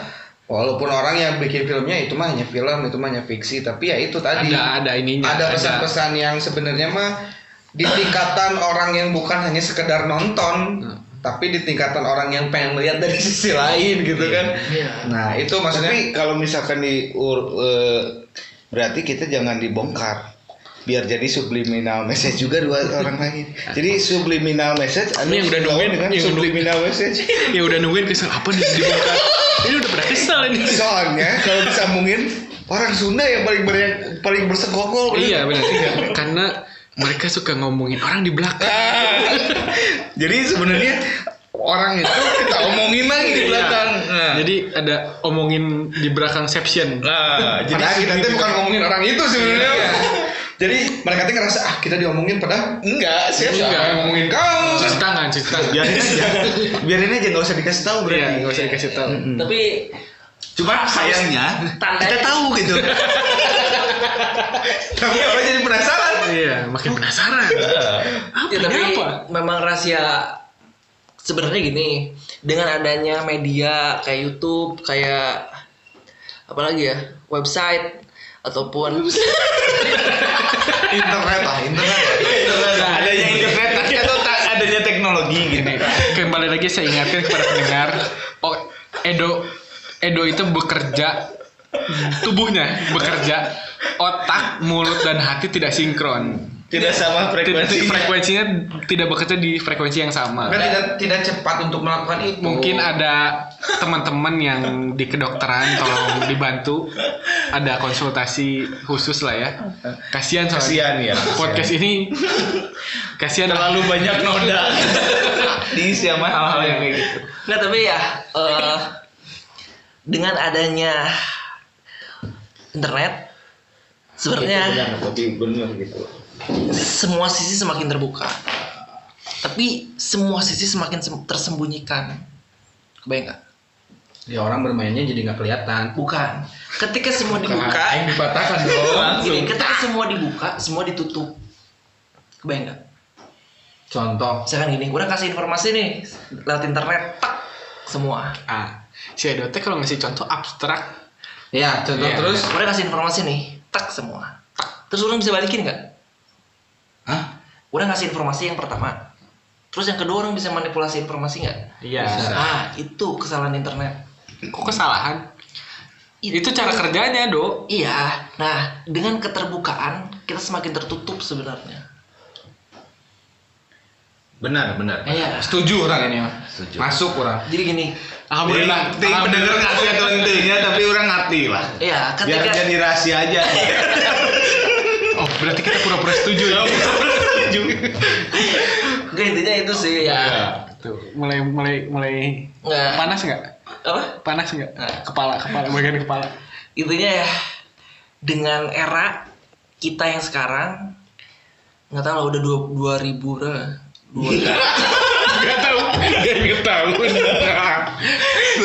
D: walaupun orang yang bikin filmnya itu mah hanya film itu mah hanya fiksi tapi ya itu tadi
C: Ada ada ininya.
D: ada pesan-pesan yang sebenarnya mah di tingkatan orang yang bukan hanya sekedar nonton
C: Hmm.
D: tapi di tingkatan orang yang pengen melihat dari sisi lain gitu kan
B: Iya.
D: nah itu maksudnya
A: Tapi kalau misalkan di ur- eh, berarti kita jangan dibongkar biar jadi subliminal message juga dua orang lagi. Jadi subliminal message ada
C: Ini yang udah
A: lawan
C: nungguin,
A: dengan
C: yang udah
A: subliminal message.
C: ya udah nungguin kesel apa nih dibongkar. ini udah pernah kesel ini.
A: Soalnya kalau disambungin orang Sunda yang paling ber paling bersegogol.
C: iya benar. Karena mereka suka ngomongin orang di belakang.
A: Jadi sebenarnya orang itu kita omongin lagi
C: Iya.
A: di belakang. Nah,
D: Ah.
C: Jadi ada omongin di belakang section.
A: nah, jadi
D: Padahal kita
C: gitu.
D: tuh bukan ngomongin orang itu sebenarnya.
C: Iya.
A: jadi
D: Mereka tuh ngerasa ah kita diomongin padahal
A: enggak siapa
C: Iya, Enggak.
A: yang ngomongin kamu?
C: Cuci tangan, cuci tangan.
A: Biarin aja, biarin aja nggak usah dikasih tahu
C: Iya,
A: berarti.
C: nggak usah dikasih tahu.
B: Tapi
A: Cuma sayangnya
B: Tandanya-
A: kita tahu gitu. Tapi orang jadi penasaran.
C: Iya, makin penasaran. Apa
B: Ya, tapi
C: ini apa?
B: memang rahasia sebenarnya gini dengan adanya media kayak YouTube kayak apalagi ya website ataupun
A: Internet lah, internet. lah. Adanya internet atau tak adanya teknologi gitu.
C: Ini, kembali lagi saya ingatkan kepada pendengar, oh, Edo Edo itu bekerja tubuhnya bekerja otak mulut dan hati tidak sinkron
A: Tidak sama
C: Tidak-
A: frekuensi.
C: frekuensinya tidak bekerja di frekuensi yang sama
D: Kan tidak tidak cepat untuk melakukan itu.
C: mungkin ada teman-teman yang di kedokteran tolong dibantu ada konsultasi khusus lah ya kasihan soalnya
A: Kasihan ya.
C: podcast ini kasihan
A: terlalu banyak noda diisi sama hal-hal yang kayak gitu.
B: Nggak tapi ya eh, dengan adanya internet sebenarnya
A: tapi benar gitu.
B: semua sisi semakin terbuka. Tapi semua sisi semakin sem- tersembunyikan. Kebayang nggak?
E: Ya orang bermainnya jadi nggak kelihatan.
B: Bukan. Ketika semua dibuka,
E: Aing dipatahkan dong.
B: gini, ketika semua dibuka, semua ditutup. Kebayang nggak?
E: Contoh.
B: Misalkan gini, kurang kasih informasi nih lewat internet, tak semua.
C: ah, si Edote kalau ngasih contoh abstrak
D: Ya, contoh
C: Iya.
D: terus
B: Orang kasih informasi nih, tak semua. Tak. Terus orang bisa balikin nggak?
E: Hah?
B: Orang kasih informasi yang pertama. Terus yang kedua orang bisa manipulasi informasi nggak?
C: iya
E: Bisa.
B: Ah, itu kesalahan internet.
C: kok kesalahan itu cara kerjanya dok
B: Iya. Nah, dengan keterbukaan kita semakin tertutup sebenarnya.
A: Benar, benar.
C: Nah.
B: Iya.
D: setuju orang ini. mah.
A: Setuju.
D: Masuk orang.
B: Jadi gini,
C: alhamdulillah
A: Ting pendengar ngasih atau intinya tapi orang ngerti lah.
B: iya
A: Biar
B: ketika
A: jadi rahasia aja.
C: oh berarti kita pura-pura setuju ya
B: Nggak, intinya itu sih
A: Iya.
B: ya.
C: Tuh, mulai mulai mulai
B: Nggak.
C: panas nggak
B: Apa?
C: panas nggak kepala kepala bagian kepala
B: Intinya ya dengan era kita yang sekarang nggak tahu lah udah dua dua ribu lah. Dua
C: nggak tahu nggak tahu
B: 2018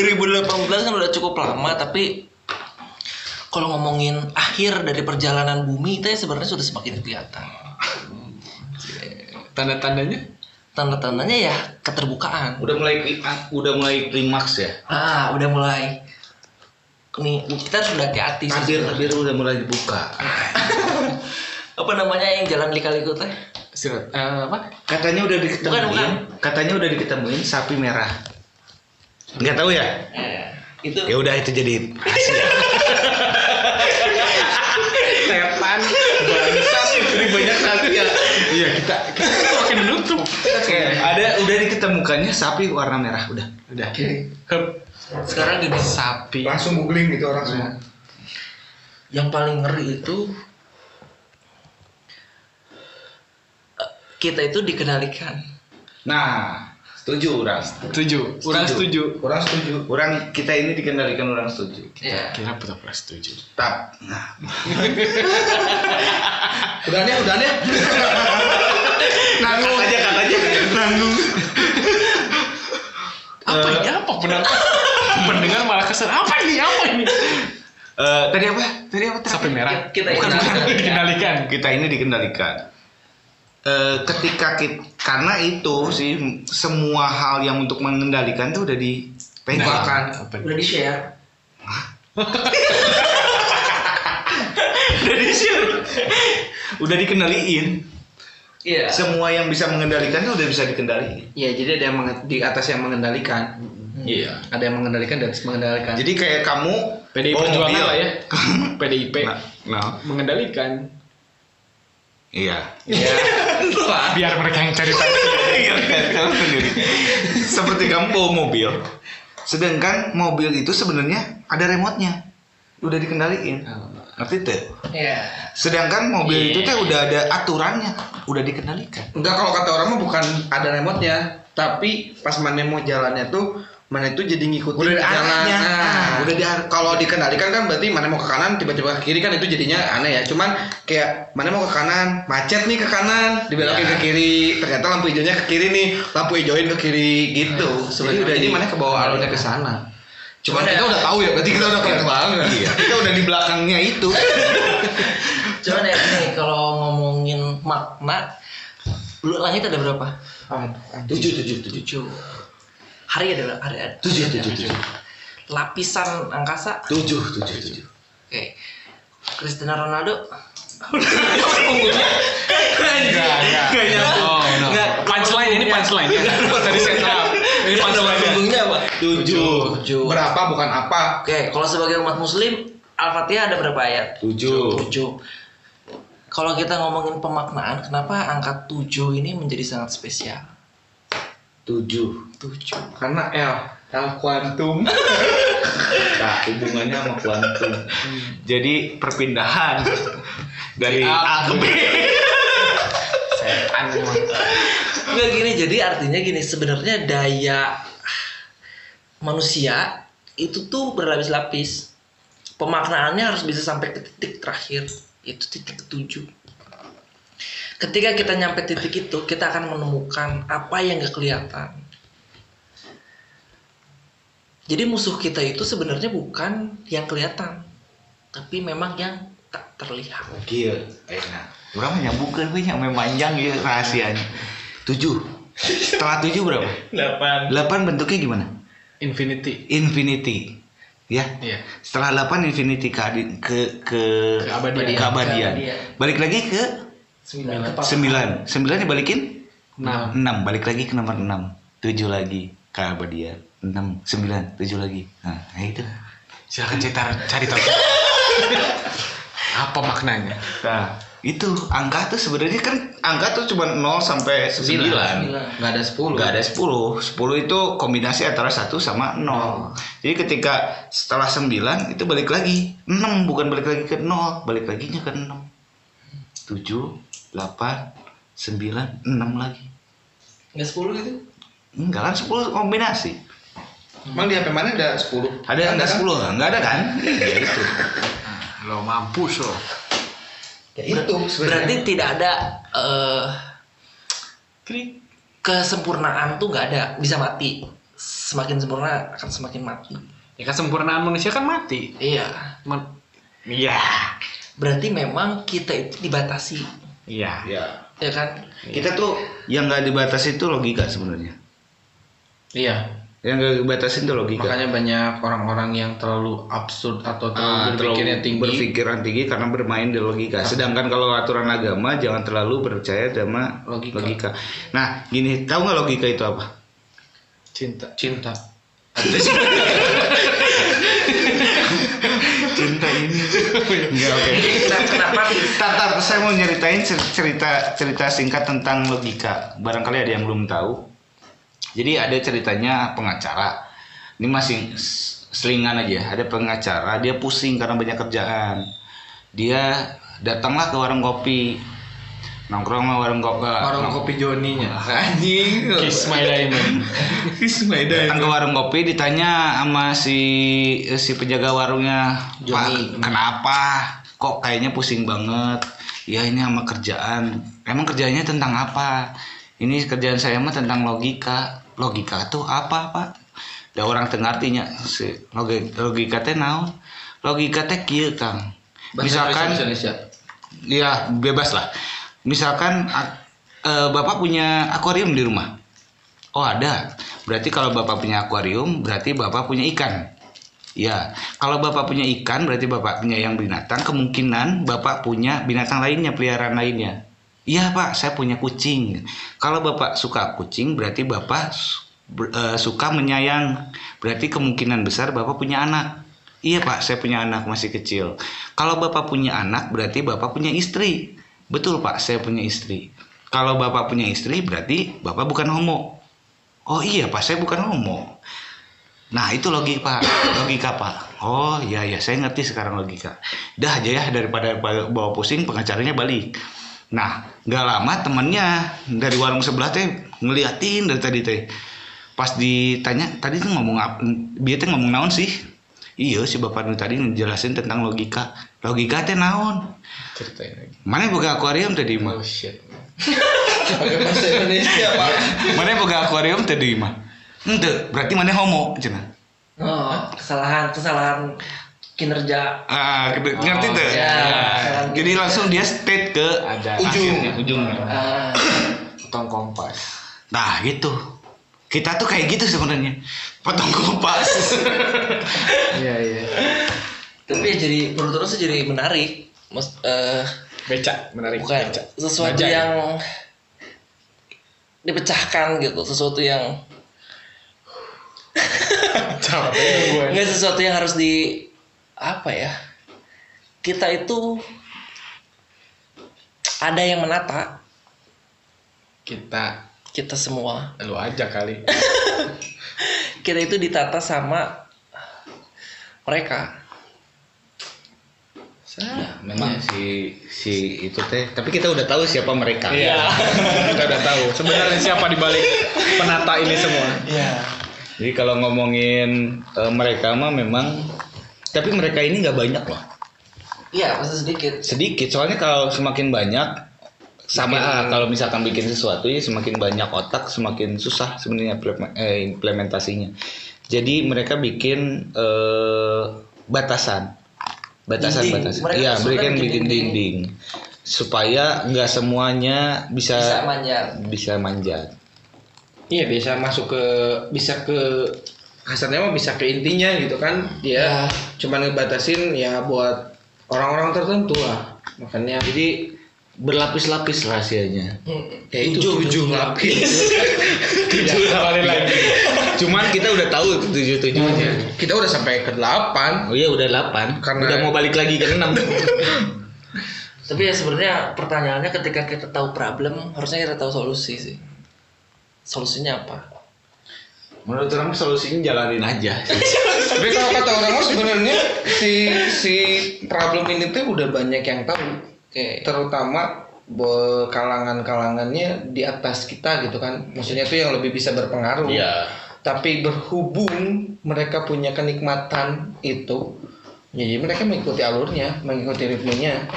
B: kan udah cukup lama tapi kalau ngomongin akhir dari perjalanan bumi itu ya sebenarnya sudah semakin kelihatan.
C: tanda-tandanya
B: Tanda-tandanya ya keterbukaan.
A: Udah mulai kli- udah mulai klimaks ya.
B: Ah, udah mulai. Nih, kita harus udah hati-hati
A: Iya,
B: sih sebenarnya.
A: Tabir-tabir udah mulai dibuka.
B: Apa namanya yang jalan lika-liku teh?
C: Silat, eh, apa
A: Katanya udah diketemuin.
B: Bukan, bukan.
A: Katanya udah diketemuin sapi merah. Nggak tahu ya?
B: Eh, itu
A: Ya udah itu jadi rahasia.
C: setan
A: Bangsat, ini banyak rahasia. Iya, kita
C: pakai nutup
A: kayak ada udah diketemukannya sapi warna merah udah.
C: udah Hup.
B: sekarang gini
C: sapi
D: Langsung googling gitu orang semua.
B: yang paling ngeri itu eh, kita itu dikendalikan.
A: Nah, setuju orang.
C: setuju orang setuju
D: Orang setuju.
A: Orang kita ini dikendalikan orang setuju.
B: Ya.
C: kira pura-pura setuju
A: Tap. Nah,
D: Udah deh, udah deh.
A: nanggung aja katanya. Nanggung.
C: apa ini apa pendengar pendengar Eh, malah keser apa ini apa ini
A: Eh, tadi apa? Tadi apa? Tadi?
C: sapi merah
B: Kita
C: bukan
B: ini-
C: bukan dikendalikan
A: Kita ini dikendalikan. Eh, ketika kita, karena itu sih semua hal yang untuk mengendalikan tuh udah
C: Nah.
A: dipegang.
D: Bahkan
B: Udah di-share.
A: udah di-share. udah dikendaliin.
B: Iya.
A: Semua yang bisa mengendalikan tuh udah bisa dikendaliin.
D: ya jadi ada yang menge- di atas yang mengendalikan.
B: Mm-hmm.
A: Iya.
D: Ada yang mengendalikan dan mengendalikan.
A: Jadi kayak kamu
C: PDI
A: bawa
C: Perjuangan
A: mobil.
C: lah ya PDIP
A: Nah, nah,
C: mengendalikan
A: iya.
C: biar mereka yang cari tahu
A: Iya, kan? Kamu sendiri. Seperti kamu bawa mobil. Sedangkan mobil itu sebenarnya ada remote-nya. Udah dikendaliin.
C: Nah,
A: Ngerti tuh?
B: Iya.
A: Sedangkan mobil itu teh udah ada aturannya, udah dikendalikan.
D: Enggak kalau kata orang mah bukan ada remote-nya, tapi pas mana mau jalannya tuh mana itu jadi ngikutin
A: Udah ada arahnya.
D: Nah,
A: Ah.
D: udah di ar- kalau dikendalikan kan berarti mana mau ke kanan tiba-tiba ke kiri kan itu jadinya aneh ya. Cuman kayak mana mau ke kanan, macet nih ke kanan, dibelokin ke kiri, ternyata lampu hijaunya ke kiri nih, lampu hijauin ke kiri gitu. Sebenarnya udah jadi mana ke bawah alurnya ke sana. Cuman kita udah tahu ya, berarti kita udah keren banget.
A: Iya, kita udah di belakangnya itu.
B: Cuman ya nih kalau ngomongin makna bulu langit ada berapa?
A: Tujuh, tujuh, tujuh.
B: Tujuh. Hari ada berapa? Hari ada.
A: Tujuh,
B: ada.
A: tujuh, tujuh.
B: Lapisan angkasa.
A: Tujuh, tujuh, tujuh.
B: Oke. Cristiano Ronaldo.
C: enggak enggak oh no
B: Nggak.
C: punchline ini punchline ya tadi set up ini punchline ya.
B: Punggungnya apa?
A: Tujuh.
B: Tujuh.
D: Berapa bukan apa?
B: Oke, kalau sebagai umat muslim Al-Fatihah ada berapa ayat?
A: Tujuh.
B: 7. Kalau kita ngomongin pemaknaan, kenapa angka 7 ini menjadi sangat spesial?
A: Tujuh.
B: 7.
D: Karena L, L kuantum.
A: Nah, hubungannya sama kuantum. Jadi perpindahan dari A ke B.
C: Aneh emang.
B: Enggak gini, jadi artinya gini, sebenarnya daya ah, manusia itu tuh berlapis-lapis. Pemaknaannya harus bisa sampai ke titik terakhir, itu titik ketujuh. Ketika kita nyampe titik itu, kita akan menemukan apa yang gak kelihatan. Jadi musuh kita itu sebenarnya bukan yang kelihatan, tapi memang yang tak terlihat.
A: Gila, enak. Orang mah nyambungkan we yang memanjang ya rahasianya. Tujuh. Setelah tujuh berapa?
B: 8.
A: Delapan bentuknya gimana?
C: Infinity.
A: Infinity. Ya.
C: Iya.
A: Setelah delapan infinity ke ke ke keabadian.
C: Keabadian.
B: Keabadian.
A: Balik lagi ke
E: Sembilan.
A: sembilan. Sembilan dibalikin
C: Nah,
A: enam. Balik lagi ke nomor enam. Tujuh lagi keabadian. Enam, sembilan, tujuh lagi. Nah, itu.
C: silakan cerita cari tahu. Apa maknanya?
A: Nah, itu angka tuh sebenarnya kan angka tuh cuma 0 sampai 9.
D: Enggak ada 10.
A: Enggak ada 10. 10 itu kombinasi antara 1 sama 0. Jadi ketika setelah 9 itu balik lagi 6 bukan balik lagi ke 0, balik laginya ke 6. 7 8 9 6 lagi.
B: Nggak 10 gitu?
A: Enggak kan 10 kombinasi.
D: Emang di HP mana ada 10?
A: Hmm. Ada enggak
D: kan?
A: 10? Enggak ada kan? Iya itu.
C: Lo mampus lo.
D: Ya itu
B: Berarti
D: sebenarnya.
B: tidak ada eh, kesempurnaan tuh nggak ada, bisa mati. Semakin sempurna akan semakin mati.
C: Ya kesempurnaan manusia kan mati.
B: Iya.
C: Men-
A: Iya.
B: Berarti memang kita itu dibatasi,
C: Iya.
A: Iya.
B: ya kan?
A: Kita tuh yang enggak dibatasi itu logika sebenarnya.
E: Iya.
A: Yang enggak dibatasin itu logika.
E: Makanya banyak orang-orang yang terlalu absurd atau
A: Ah,
E: terlalu berpikirnya
A: terlalu
E: tinggi.
A: berpikiran tinggi karena bermain di logika. Sedangkan kalau aturan agama jangan terlalu percaya sama logika.
E: Logika.
A: Nah, gini, tahu nggak logika itu apa?
C: Cinta.
E: Cinta.
A: Cinta ini. Enggak, oke.
B: Nah, kenapa sih?
A: Tar, tar, saya mau nyeritain cer- cerita cerita singkat tentang logika. Barangkali ada yang belum tahu. Jadi ada ceritanya pengacara. Ini masih s- selingan aja. Ada pengacara, dia pusing karena banyak kerjaan. Dia datanglah ke warung kopi. Nongkrong sama warung eh, kopi.
E: Orang kopi Joninya.
A: Anjing.
C: Kiss my diamond.
E: Iya,
A: Iya, Datang ke warung kopi ditanya sama si si penjaga warungnya,
D: Joni.
A: "Pak, kenapa? Kok kayaknya pusing banget?" "Ya ini sama kerjaan." "Emang kerjanya tentang apa?" "Ini kerjaan saya mah tentang logika." "Logika tuh apa, Pak?" Da orang teu ngartinya. Si logi- logika teh naon? Logika teh kieu, Kang.
E: Bahasa
A: Misalkan
E: Indonesia, Indonesia.
A: ya bebas lah misalkan ak- eh, bapak punya akuarium di rumah oh ada berarti kalau bapak punya akuarium berarti bapak punya ikan ya kalau bapak punya ikan berarti bapak punya yang binatang kemungkinan bapak punya binatang lainnya peliharaan lainnya iya pak saya punya kucing kalau bapak suka kucing berarti bapak su- ber- eh, suka menyayang berarti kemungkinan besar bapak punya anak Iya pak, saya punya anak masih kecil. Kalau bapak punya anak berarti bapak punya istri. Betul pak, saya punya istri. Kalau bapak punya istri berarti bapak bukan homo. Oh iya pak, saya bukan homo. Nah itu logika pak, logika pak. Oh iya iya, saya ngerti sekarang logika. Dah aja ya daripada bawa pusing pengacaranya balik. Nah nggak lama temennya dari warung sebelah teh ngeliatin dari tadi teh. Pas ditanya tadi tuh ngomong apa? Dia teh ngomong naon sih? Iya si bapak nu tadi ngejelasin tentang logika. Logika teh naon?
E: Ceritain lagi.
A: Mana boga akuarium tadi mah?
E: Oh shit.
D: Pakai bahasa Indonesia, Pak.
A: Mana boga akuarium tadi mah? Ente, berarti mana homo cenah.
B: Oh, kesalahan, kesalahan kinerja.
A: Ah, gitu. ngerti
C: Oh,
A: tuh?
B: iya.
A: Ah, Jadi langsung dia state ke
C: Ada.
A: ujung,
D: Akhirnya,
A: ujungnya.
B: Ah,
C: Potong kompas.
A: Nah, gitu. Kita tuh kayak gitu sebenarnya. Potong kompas.
E: Iya iya.
B: tapi ya jadi menurut terus jadi menarik. Mas, eh,
C: Becak menarik.
B: bukan
C: Becak.
B: sesuatu
C: Bajai.
B: yang dipecahkan gitu, sesuatu yang
C: Capek gue.
B: Enggak sesuatu yang harus di apa ya? kita itu ada yang menata
C: Kita
B: kita semua.
C: lu aja kali.
B: Kita itu ditata sama mereka.
A: memang si si itu teh tapi kita udah tahu siapa mereka kita udah tahu
C: Sebenarnya siapa di balik penata ini semua?
A: jadi kalau ngomongin eh, mereka mah memang tapi mereka ini nggak banyak loh
B: Iya, pasti sedikit.
A: sedikit soalnya kalau semakin banyak sama ah, kalau misalkan bikin sesuatu ya semakin banyak otak semakin susah sebenarnya implem- eh, implementasinya jadi mereka bikin eh, batasan batasan
B: Dinding.
A: batasan
B: Mereka
A: iya
B: suka
A: mereka
B: bikin
A: bikin
B: dinding.
A: dinding supaya nggak semuanya bisa
B: Bisa manjat.
A: bisa manjat
D: Iya bisa masuk ke bisa ke kasarnya mah bisa ke intinya gitu kan
A: Iya.
D: dia cuman ngebatasin ya buat orang-orang tertentu lah makanya
A: jadi berlapis-lapis rahasianya
D: ya itu ujung lapis
A: tujuh
B: Iya.
A: lagi cuman kita udah tahu tujuh
B: Iya.
A: tujuhnya
D: kita udah sampai ke delapan
A: oh iya udah delapan
D: Karena-
A: udah mau balik lagi ke enam
B: Tapi ya sebenarnya pertanyaannya ketika kita tahu problem, harusnya kita tahu solusi sih. Solusinya apa?
A: Menurut orang solusinya jalanin aja.
D: tapi kalau kata orang mah sebenarnya si si problem ini tuh udah banyak yang tahu
B: Oke.
D: terutama be- kalangan-kalangannya di atas kita gitu kan maksudnya tuh yang lebih bisa berpengaruh
A: Iya.
D: tapi berhubung mereka punya kenikmatan itu jadi mereka mengikuti alurnya mengikuti ritmenya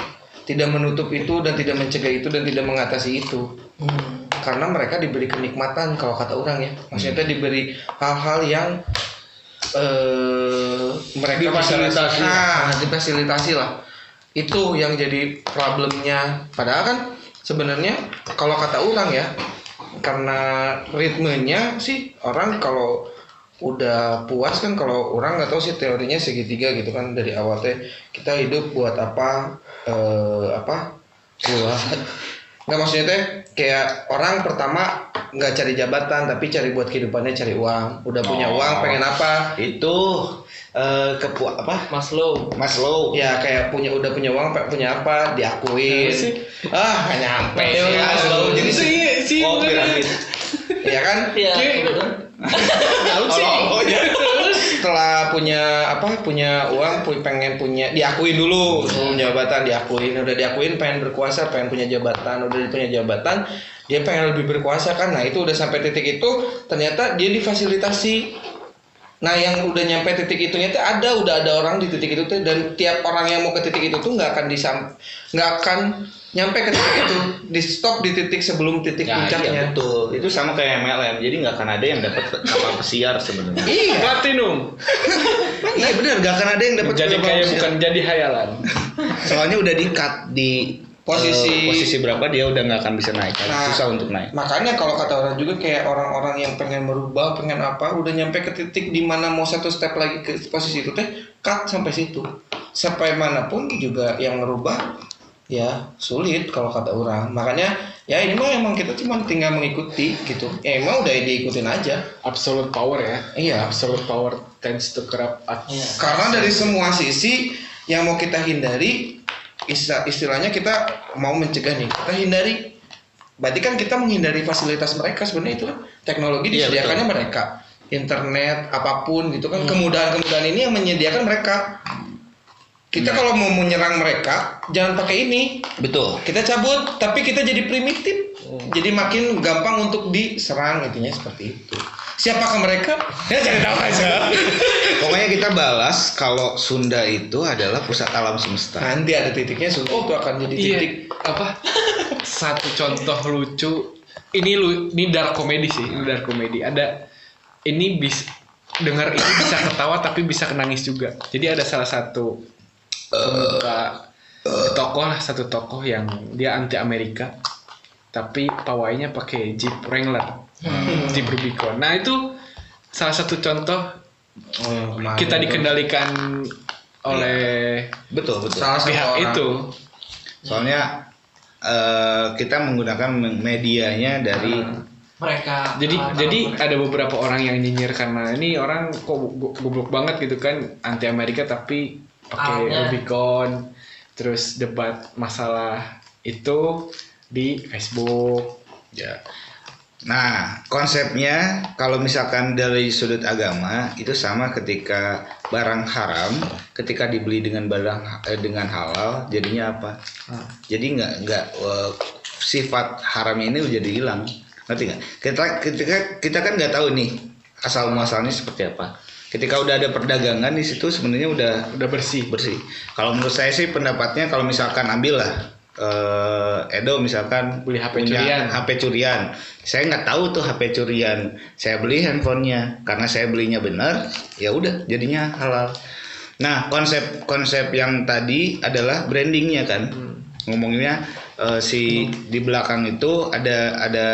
D: tidak menutup itu dan tidak mencegah itu dan tidak mengatasi itu
B: Hmm.
D: karena mereka diberi kenikmatan kalau kata orang ya maksudnya tuh diberi hal-hal yang eh mereka bisa
A: Difasilitasi.
D: nah difasilitasi lah itu yang jadi problemnya padahal kan sebenarnya kalau kata orang ya karena ritmenya sih orang kalau udah puas kan kalau orang nggak tahu sih teorinya segitiga gitu kan dari awal teh kita hidup buat apa eh apa buat nggak maksudnya teh kayak orang pertama nggak cari jabatan tapi cari buat kehidupannya cari uang udah punya
A: Oh.
D: uang pengen apa
A: Itu eh kepua apa?
B: Maslow.
A: Maslow.
D: ya kayak punya udah punya uang pe- punya apa diakuin ah nggak nyampe ya
A: Maslow. Jadi sih
C: Iya.
A: sih. Oh, piramid.
D: ya kan
B: Iya.
A: Oh, oh, ya.
D: setelah punya apa punya uang pu- pengen punya diakuin dulu sebelum
A: Iya.
D: jabatan diakuin udah diakuin pengen berkuasa pengen punya jabatan udah punya jabatan dia pengen lebih berkuasa kan nah itu udah sampai titik itu ternyata dia difasilitasi nah yang udah nyampe titik itunya tuh ada udah ada orang di titik itu tuh dan tiap orang yang mau ke titik itu tuh nggak akan disam nggak akan nyampe ke titik itu di stop di titik sebelum titik
A: Ya, iya,
D: puncaknya
A: betul. Itu sama kayak MLM. Jadi nggak akan ada yang dapat kapal pesiar sebenarnya.
D: iya
C: Platinum.
D: iya bener nggak akan ada yang dapat
C: Jadi
D: berapa
C: kayak
D: persen.
C: bukan jadi hayalan.
A: Soalnya udah di cut di eh,
D: Posisi-
A: posisi berapa dia udah nggak akan bisa naik.
D: Nah.
A: Susah untuk naik.
D: Makanya kalau kata orang juga kayak orang-orang yang pengen merubah, pengen apa, udah nyampe ke titik di mana mau satu step lagi ke posisi itu teh cut sampai situ. Sampai manapun juga yang merubah ya sulit kalau kata orang. Makanya ya ini mah emang kita cuma tinggal mengikuti gitu. Ya emang udah diikutin aja.
C: Absolute power ya.
D: Iya.
C: Absolute power tends to corrupt us.
B: Iya.
D: Karena dari semua sisi yang mau kita hindari isti- istilahnya kita mau mencegah nih, kita hindari. Berarti kan kita menghindari fasilitas mereka sebenarnya itu kan teknologi
A: Iya,
D: disediakannya mereka. Internet apapun gitu kan kemudahan-kemudahan ini yang menyediakan mereka. Kita kalau mau menyerang mereka jangan pakai ini.
A: Betul.
D: Kita cabut tapi kita jadi primitif. Jadi makin gampang untuk diserang intinya seperti itu. Siapakah mereka? Ya cari tahu aja.
A: Pokoknya kita balas kalau Sunda itu adalah pusat alam semesta.
D: Nah, Nanti ada titiknya sudah itu akan jadi
C: Iya.
D: titik.
C: Apa? Satu contoh lucu. Ini lu, ini dark comedy sih, ini dark comedy. Ada ini bis dengar ini bisa ketawa tapi bisa nangis juga. Jadi ada salah satu pemuka tokoh lah satu tokoh yang dia anti Amerika tapi pawainya pakai Jeep Wrangler, Jeep Rubicon. Nah itu salah satu contoh
A: Oh,
C: kita dikendalikan oleh
A: Betul, betul.
D: Salah satu
C: pihak
D: orang.
C: itu.
A: Soalnya eh, kita menggunakan medianya dari
B: Mereka.
C: Jadi
B: alat-alat
C: jadi
B: mereka.
C: ada beberapa orang yang nyinyir karena ini orang kok go- goblok banget gitu kan anti Amerika tapi pakai
B: Alatnya.
C: Rubicon
E: terus debat masalah itu di Facebook
A: Ya. Nah, konsepnya kalau misalkan dari sudut agama itu sama ketika barang haram ketika dibeli dengan barang eh, dengan halal jadinya apa?
C: Ah.
A: Jadi nggak nggak eh, sifat haram ini jadi hilang. Ngerti nggak? Kita ketika kita kan nggak tahu nih asal muasalnya seperti apa. Ketika udah ada perdagangan di situ sebenarnya udah
E: udah bersih
A: bersih. Kalau menurut saya sih pendapatnya kalau misalkan ambillah eh Edo misalkan
E: Beli HP
A: punya
E: curian.
A: HP curian. Saya nggak tahu tuh HP curian. Saya beli handphonenya karena saya belinya benar. Ya udah jadinya halal. Nah konsep konsep yang tadi adalah brandingnya kan.
E: Hmm.
A: Ngomonginnya eh, si di belakang itu ada ada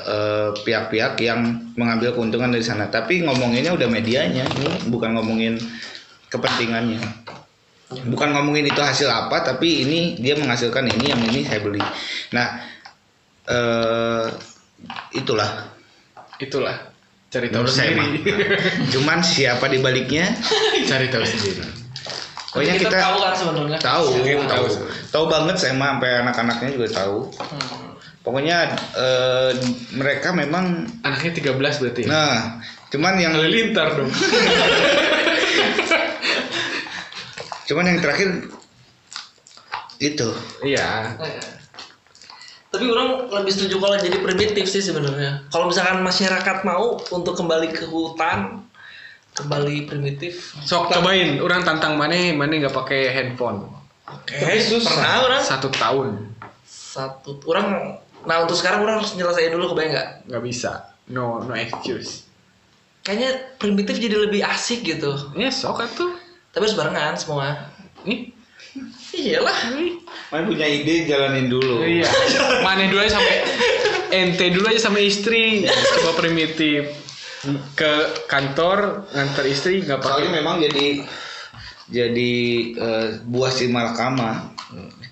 A: eh, pihak-pihak yang mengambil keuntungan dari sana. Tapi ngomonginnya udah medianya, bukan ngomongin kepentingannya bukan ngomongin itu hasil apa tapi ini dia menghasilkan ini yang ini saya beli nah eh itulah
E: itulah cari tahu
A: menurut saya mah.
E: sendiri
A: cuman siapa di baliknya
E: cari tahu sendiri
A: pokoknya kita
B: kita, tahu kan sebenarnya.
A: tahu
E: Kita
A: tahu
E: tahu.
A: tahu banget saya mah sampai anak-anaknya juga tahu
B: Hmm.
A: pokoknya eh, mereka memang
E: anaknya 13 berarti ya?
A: nah cuman yang
E: halilintar dong
A: cuman yang terakhir itu
E: iya
B: Tapi orang lebih setuju kalau jadi primitif sih sebenarnya. Kalau misalkan masyarakat mau untuk kembali ke hutan, kembali primitif.
C: Sok cobain, orang tantang mana, mana nggak pakai handphone
B: Oke, Pernah orang
C: satu tahun
B: satu orang nah untuk sekarang orang harus nyelesain dulu kebayang nggak
C: nggak bisa, no no excuse.
B: kayaknya primitif jadi lebih asik gitu
E: Iya,
C: Ya sok atuh,
B: tapi harus barengan semua
C: nih.
B: iyalah
A: main punya ide jalanin dulu
C: Iya. Mana dulu aja sampai ente dulu aja sama istri, coba primitif ke kantor nganter istri nggak pakai.
A: soalnya memang jadi jadi eh, buah si malakama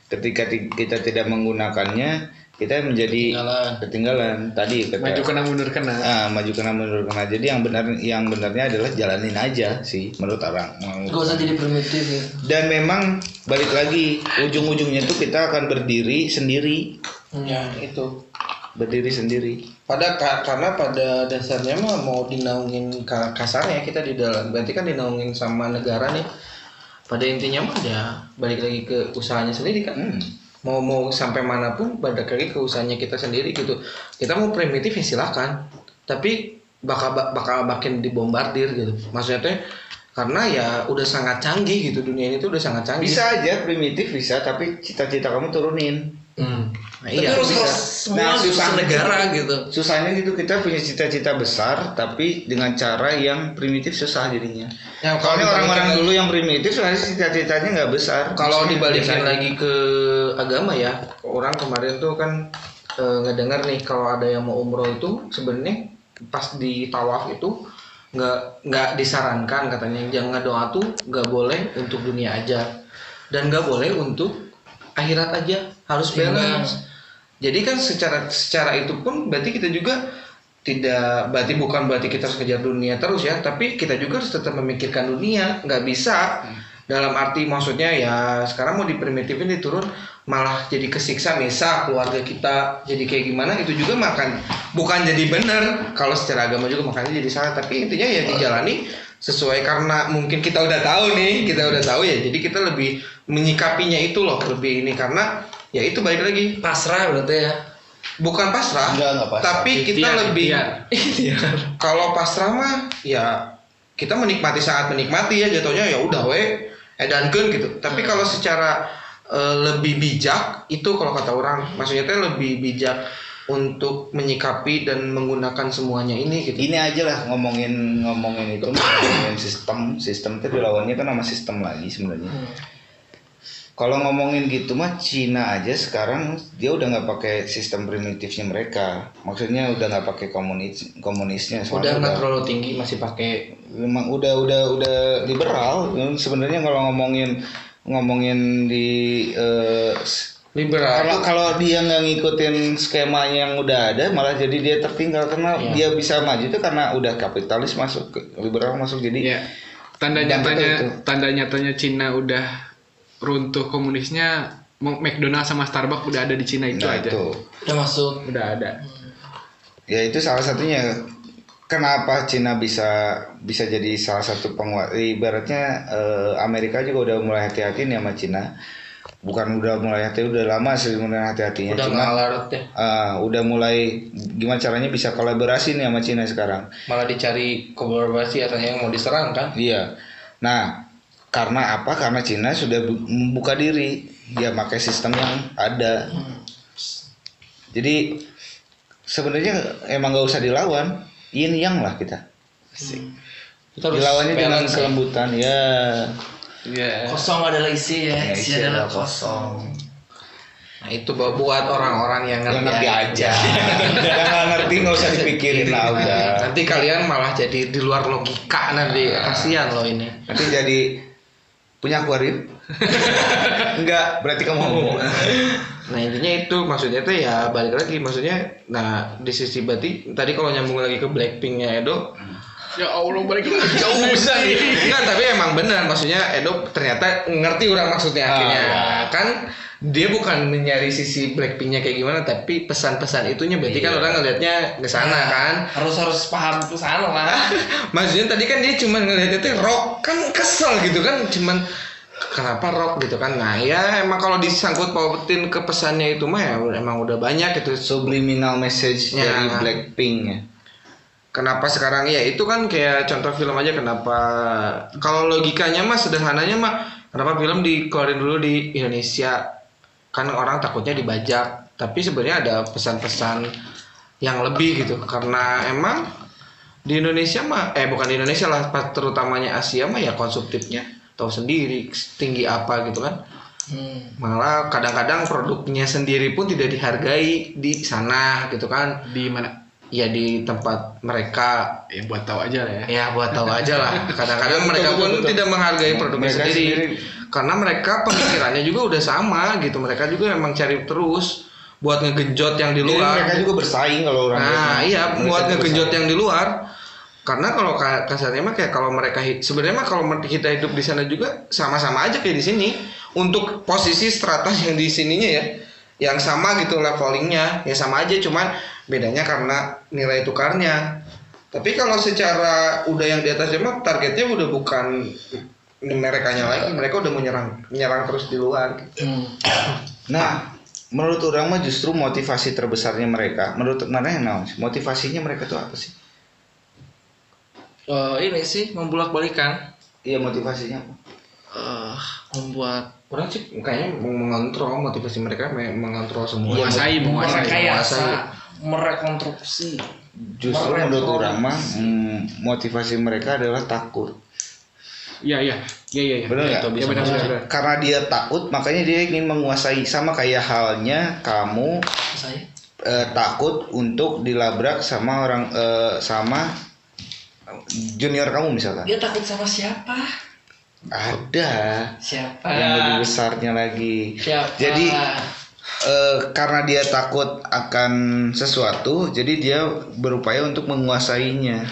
A: ketika ti- kita tidak menggunakannya kita menjadi
E: Ketinggalan.
A: ketinggalan tadi kata
C: Maju kena mundur kena.
A: Ah, maju kena mundur kena jadi yang benar yang benarnya adalah jalanin aja sih menurut orang Mau-
B: gak usah jadi primitif ya
A: dan memang balik lagi ujung-ujungnya tuh kita akan berdiri sendiri
D: ya itu
A: berdiri sendiri
D: pada ka- karena pada dasarnya mah mau dinaungin ka- kasarnya kita di dalam berarti kan dinaungin sama negara nih pada intinya mah ya balik lagi ke usahanya sendiri kan
A: Hmm.
D: mau mau sampai manapun balik lagi ke usahanya kita sendiri gitu kita mau primitif ya silakan tapi bakal ba- bakal makin dibombardir gitu maksudnya tuh karena ya udah sangat canggih gitu dunia ini tuh udah sangat canggih
A: bisa aja primitif bisa tapi cita-cita kamu turunin
D: Hmm.
A: nah,
B: tapi harus
A: bisa.
B: harus semua
A: Nah, susah.
B: susah negara gitu
A: susahnya gitu kita punya cita-cita besar tapi dengan cara yang primitif susah jadinya
D: Ya,
A: soalnya
D: kalau dibalikin
A: orang-orang
D: lagi-
A: dulu yang primitif soalnya cita-citanya nggak besar
D: kalau
A: Maksudnya
D: dibalikin
A: Iya, biasanya.
D: lagi ke agama ya orang kemarin tuh kan eh, ngedengar nih kalau ada yang mau umroh itu sebenarnya pas di tawaf itu nggak nggak disarankan katanya yang ngedoa tuh nggak boleh untuk dunia aja dan nggak boleh untuk akhirat aja harus balance jadi kan secara secara itu pun berarti kita juga tidak berarti bukan berarti kita harus kejar dunia terus ya tapi kita juga harus tetap memikirkan dunia nggak bisa dalam arti maksudnya ya sekarang mau diprimitifin diturun malah jadi kesiksa misal keluarga kita jadi kayak gimana itu juga makan bukan jadi bener kalau secara agama juga makanya jadi salah tapi intinya ya dijalani sesuai karena mungkin kita udah tahu nih kita udah tahu ya jadi kita lebih menyikapinya itu loh lebih ini karena ya itu balik lagi
B: pasrah berarti ya
D: bukan pasrah,
A: Enggak, enggak pasrah.
D: tapi kita
C: Ikhtiar,
D: lebih
C: ikhtiar.
A: Iya.
D: kalau pasrah mah ya kita menikmati sangat menikmati ya jatuhnya ya udah we edankeun gitu tapi
C: Hmm.
D: kalau secara eh, lebih bijak itu kalau kata orang maksudnya teh lebih bijak untuk menyikapi dan menggunakan semuanya ini gitu
A: ini aja lah ngomongin ngomongin itu ngomongin sistem sistem itu dilawannya kan sama sistem lagi sebenarnya
D: Hmm.
A: kalau ngomongin gitu mah Cina aja sekarang dia udah nggak pakai sistem primitifnya mereka maksudnya udah nggak pakai komunis komunisnya
D: udah
A: soalnya
D: nggak terlalu tinggi masih pakai
A: memang udah udah udah liberal sebenarnya kalau ngomongin ngomongin di eh, s- kalau
D: liberal
A: kalau dia nggak ngikutin skema yang udah ada malah jadi dia tertinggal karena
C: Iya.
A: dia bisa maju itu karena udah kapitalis masuk ke- liberal masuk jadi
C: Iya. Tanda
A: Dan betul
C: nyatanya
A: itu.
C: tanda nyatanya Cina udah runtuh komunisnya Mo- McDonald sama Starbucks udah ada di Cina itu
A: Nah,
C: aja.
A: itu.
B: udah masuk
C: Udah ada.
A: Ya itu salah satunya kenapa Cina bisa bisa jadi salah satu penguat ibaratnya eh, Amerika juga udah mulai hati-hati nih sama Cina. Bukan udah mulai hati udah lama sih sebenarnya hati-hatinya
B: udah
A: cuma
B: ngalarut ya
A: eh, udah mulai gimana caranya bisa kolaborasi nih sama Cina sekarang.
B: malah dicari kolaborasi katanya yang mau diserang kan
A: Iya. Nah, karena apa? Karena Cina sudah bu- membuka diri. Dia pakai sistem yang ada. Jadi sebenarnya emang nggak usah dilawan. Yin yang lah kita.
B: Kita harus
A: Dilawannya dengan
B: balance.
A: kelembutan. Hmm. Ya.
C: Iya.
B: kosong adalah isi ya
A: Ya,
B: isi,
A: isi
B: adalah
A: adalah
B: kosong
D: Nah, itu bu- buat orang-orang yang
A: Yang ngerti
D: ngerti
A: aja. Yang nggak ngerti nggak usah dipikirin lah udah.
D: Nanti kalian malah jadi di luar logika nanti. Kasihan loh ini.
A: Nanti jadi punya akuarium? Enggak, berarti kamu homo.
D: Nah intinya itu maksudnya tuh ya balik lagi maksudnya nah di sisi berarti tadi kalau nyambung lagi ke Blackpinknya Edo
C: Ya Allah balik lagi jauh sekali.
D: kan tapi emang bener maksudnya Edo ternyata ngerti orang maksudnya akhirnya kan dia bukan mencari sisi Blackpinknya kayak gimana tapi pesan-pesan itunya berarti kan orang ngelihatnya ke sana kan
B: harus harus paham ke sana lah
D: maksudnya tadi kan dia cuma ngelihatnya tuh rock kan kesel gitu kan cuman kenapa rock gitu kan nah ya emang kalau disangkut pautin ke pesannya itu mah ya emang udah banyak gitu
A: Subliminal message
D: Ya.
A: dari Blackpink ya.
D: Kenapa sekarang ya itu kan kayak contoh film aja kenapa kalau logikanya mah sederhananya mah kenapa film dikeluarin dulu di Indonesia kan orang takutnya dibajak tapi sebenarnya ada pesan-pesan yang lebih gitu karena emang di Indonesia mah eh bukan di Indonesia lah pas terutamanya Asia mah ya konsumtifnya tahu sendiri tinggi apa gitu kan
B: hmm.
D: malah kadang-kadang produknya sendiri pun tidak dihargai di sana gitu kan
C: Di mana?
D: ya di tempat mereka
C: Ya buat tahu aja lah ya.
D: Ya buat tahu aja lah. Kadang-kadang mereka
A: betul,
D: pun
A: betul.
D: tidak menghargai produknya
A: Mereka
D: sendiri.
A: sendiri.
D: Karena mereka pemikirannya juga udah sama gitu. Mereka juga emang cari terus buat ngegenjot yang di
A: Jadi Iya, mereka
D: luar.
A: juga bersaing kalau orang
D: Nah
A: Vietnam.
D: iya
A: Mereka
D: buat
A: juga
D: ngegenjot
A: bersaing.
D: yang di luar. Karena kalau ka- kasarnya mah kayak kalau mereka hid- sebenarnya mah kalau mer- kita hidup di sana juga sama-sama aja kayak di sini. Untuk posisi strata yang di sininya ya yang sama gitu levelingnya ya sama aja cuman bedanya karena nilai tukarnya tapi kalau secara udah yang di atasnya mah targetnya udah bukan merekanya lagi, mereka udah menyerang, menyerang terus di luar.
B: Hmm.
A: Nah, menurut orang mah justru motivasi terbesarnya mereka. Menurut mana yang naon? Motivasinya mereka tuh apa sih?
B: Eh, ini sih membulak balikan
A: Iya motivasinya apa?
B: membuat
D: Orang sih kayaknya meng- mengontrol motivasi mereka, me- mengontrol semua.
C: Menguasai, Iya, menguasai.
B: merekayasa Iya, merekonstruksi
A: Justru
B: Mereka
A: menurut
B: tuh-
A: orang mah mm, motivasi mereka adalah takut.
C: Iya iya. Iya
D: Ya,
C: iya. iya.
A: Benar
C: Iya,
A: nggak?
C: Iya benar benar.
A: Karena dia takut, makanya dia ingin menguasai sama kayak halnya kamu
B: saya
A: eh, takut untuk dilabrak sama orang eh, sama junior kamu misalkan.
B: dia takut sama siapa
A: Ada
B: siapa
A: yang lebih besarnya lagi.
B: Ya. siapa
A: Jadi, Eh, karena dia takut akan sesuatu, jadi dia berupaya untuk menguasainya.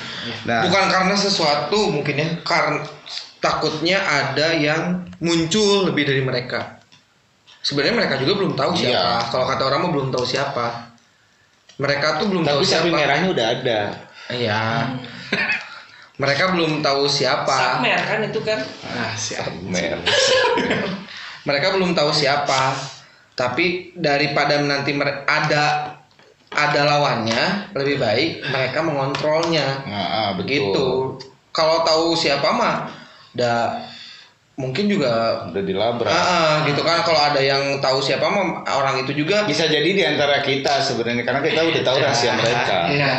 A: Nah,
D: Bukan karena sesuatu mungkin ya, karena takutnya ada yang muncul lebih dari mereka. Sebenarnya mereka juga belum tahu siapa.
A: Iya.
D: Kalau kata orang mah belum tahu siapa. Mereka tuh belum tahu
A: tapi sapi
D: siapa.
A: merahnya udah ada.
D: Iya. mereka belum tahu siapa.
B: Sakmer kan itu kan
C: Ah, si anjing.
D: mereka belum tahu siapa tapi daripada nanti mere- ada ada lawannya lebih baik mereka mengontrolnya
A: Nah, ah, begitu.
D: begitu Gitu. kalau tahu siapa mah da mungkin juga
A: Udah dilabrak.
D: Ah, ah, gitu kan kalau ada yang tahu siapa mah orang itu juga
A: Bisa jadi di antara kita sebenarnya karena kita udah tahu rahasia mereka.
B: Iya.
D: ya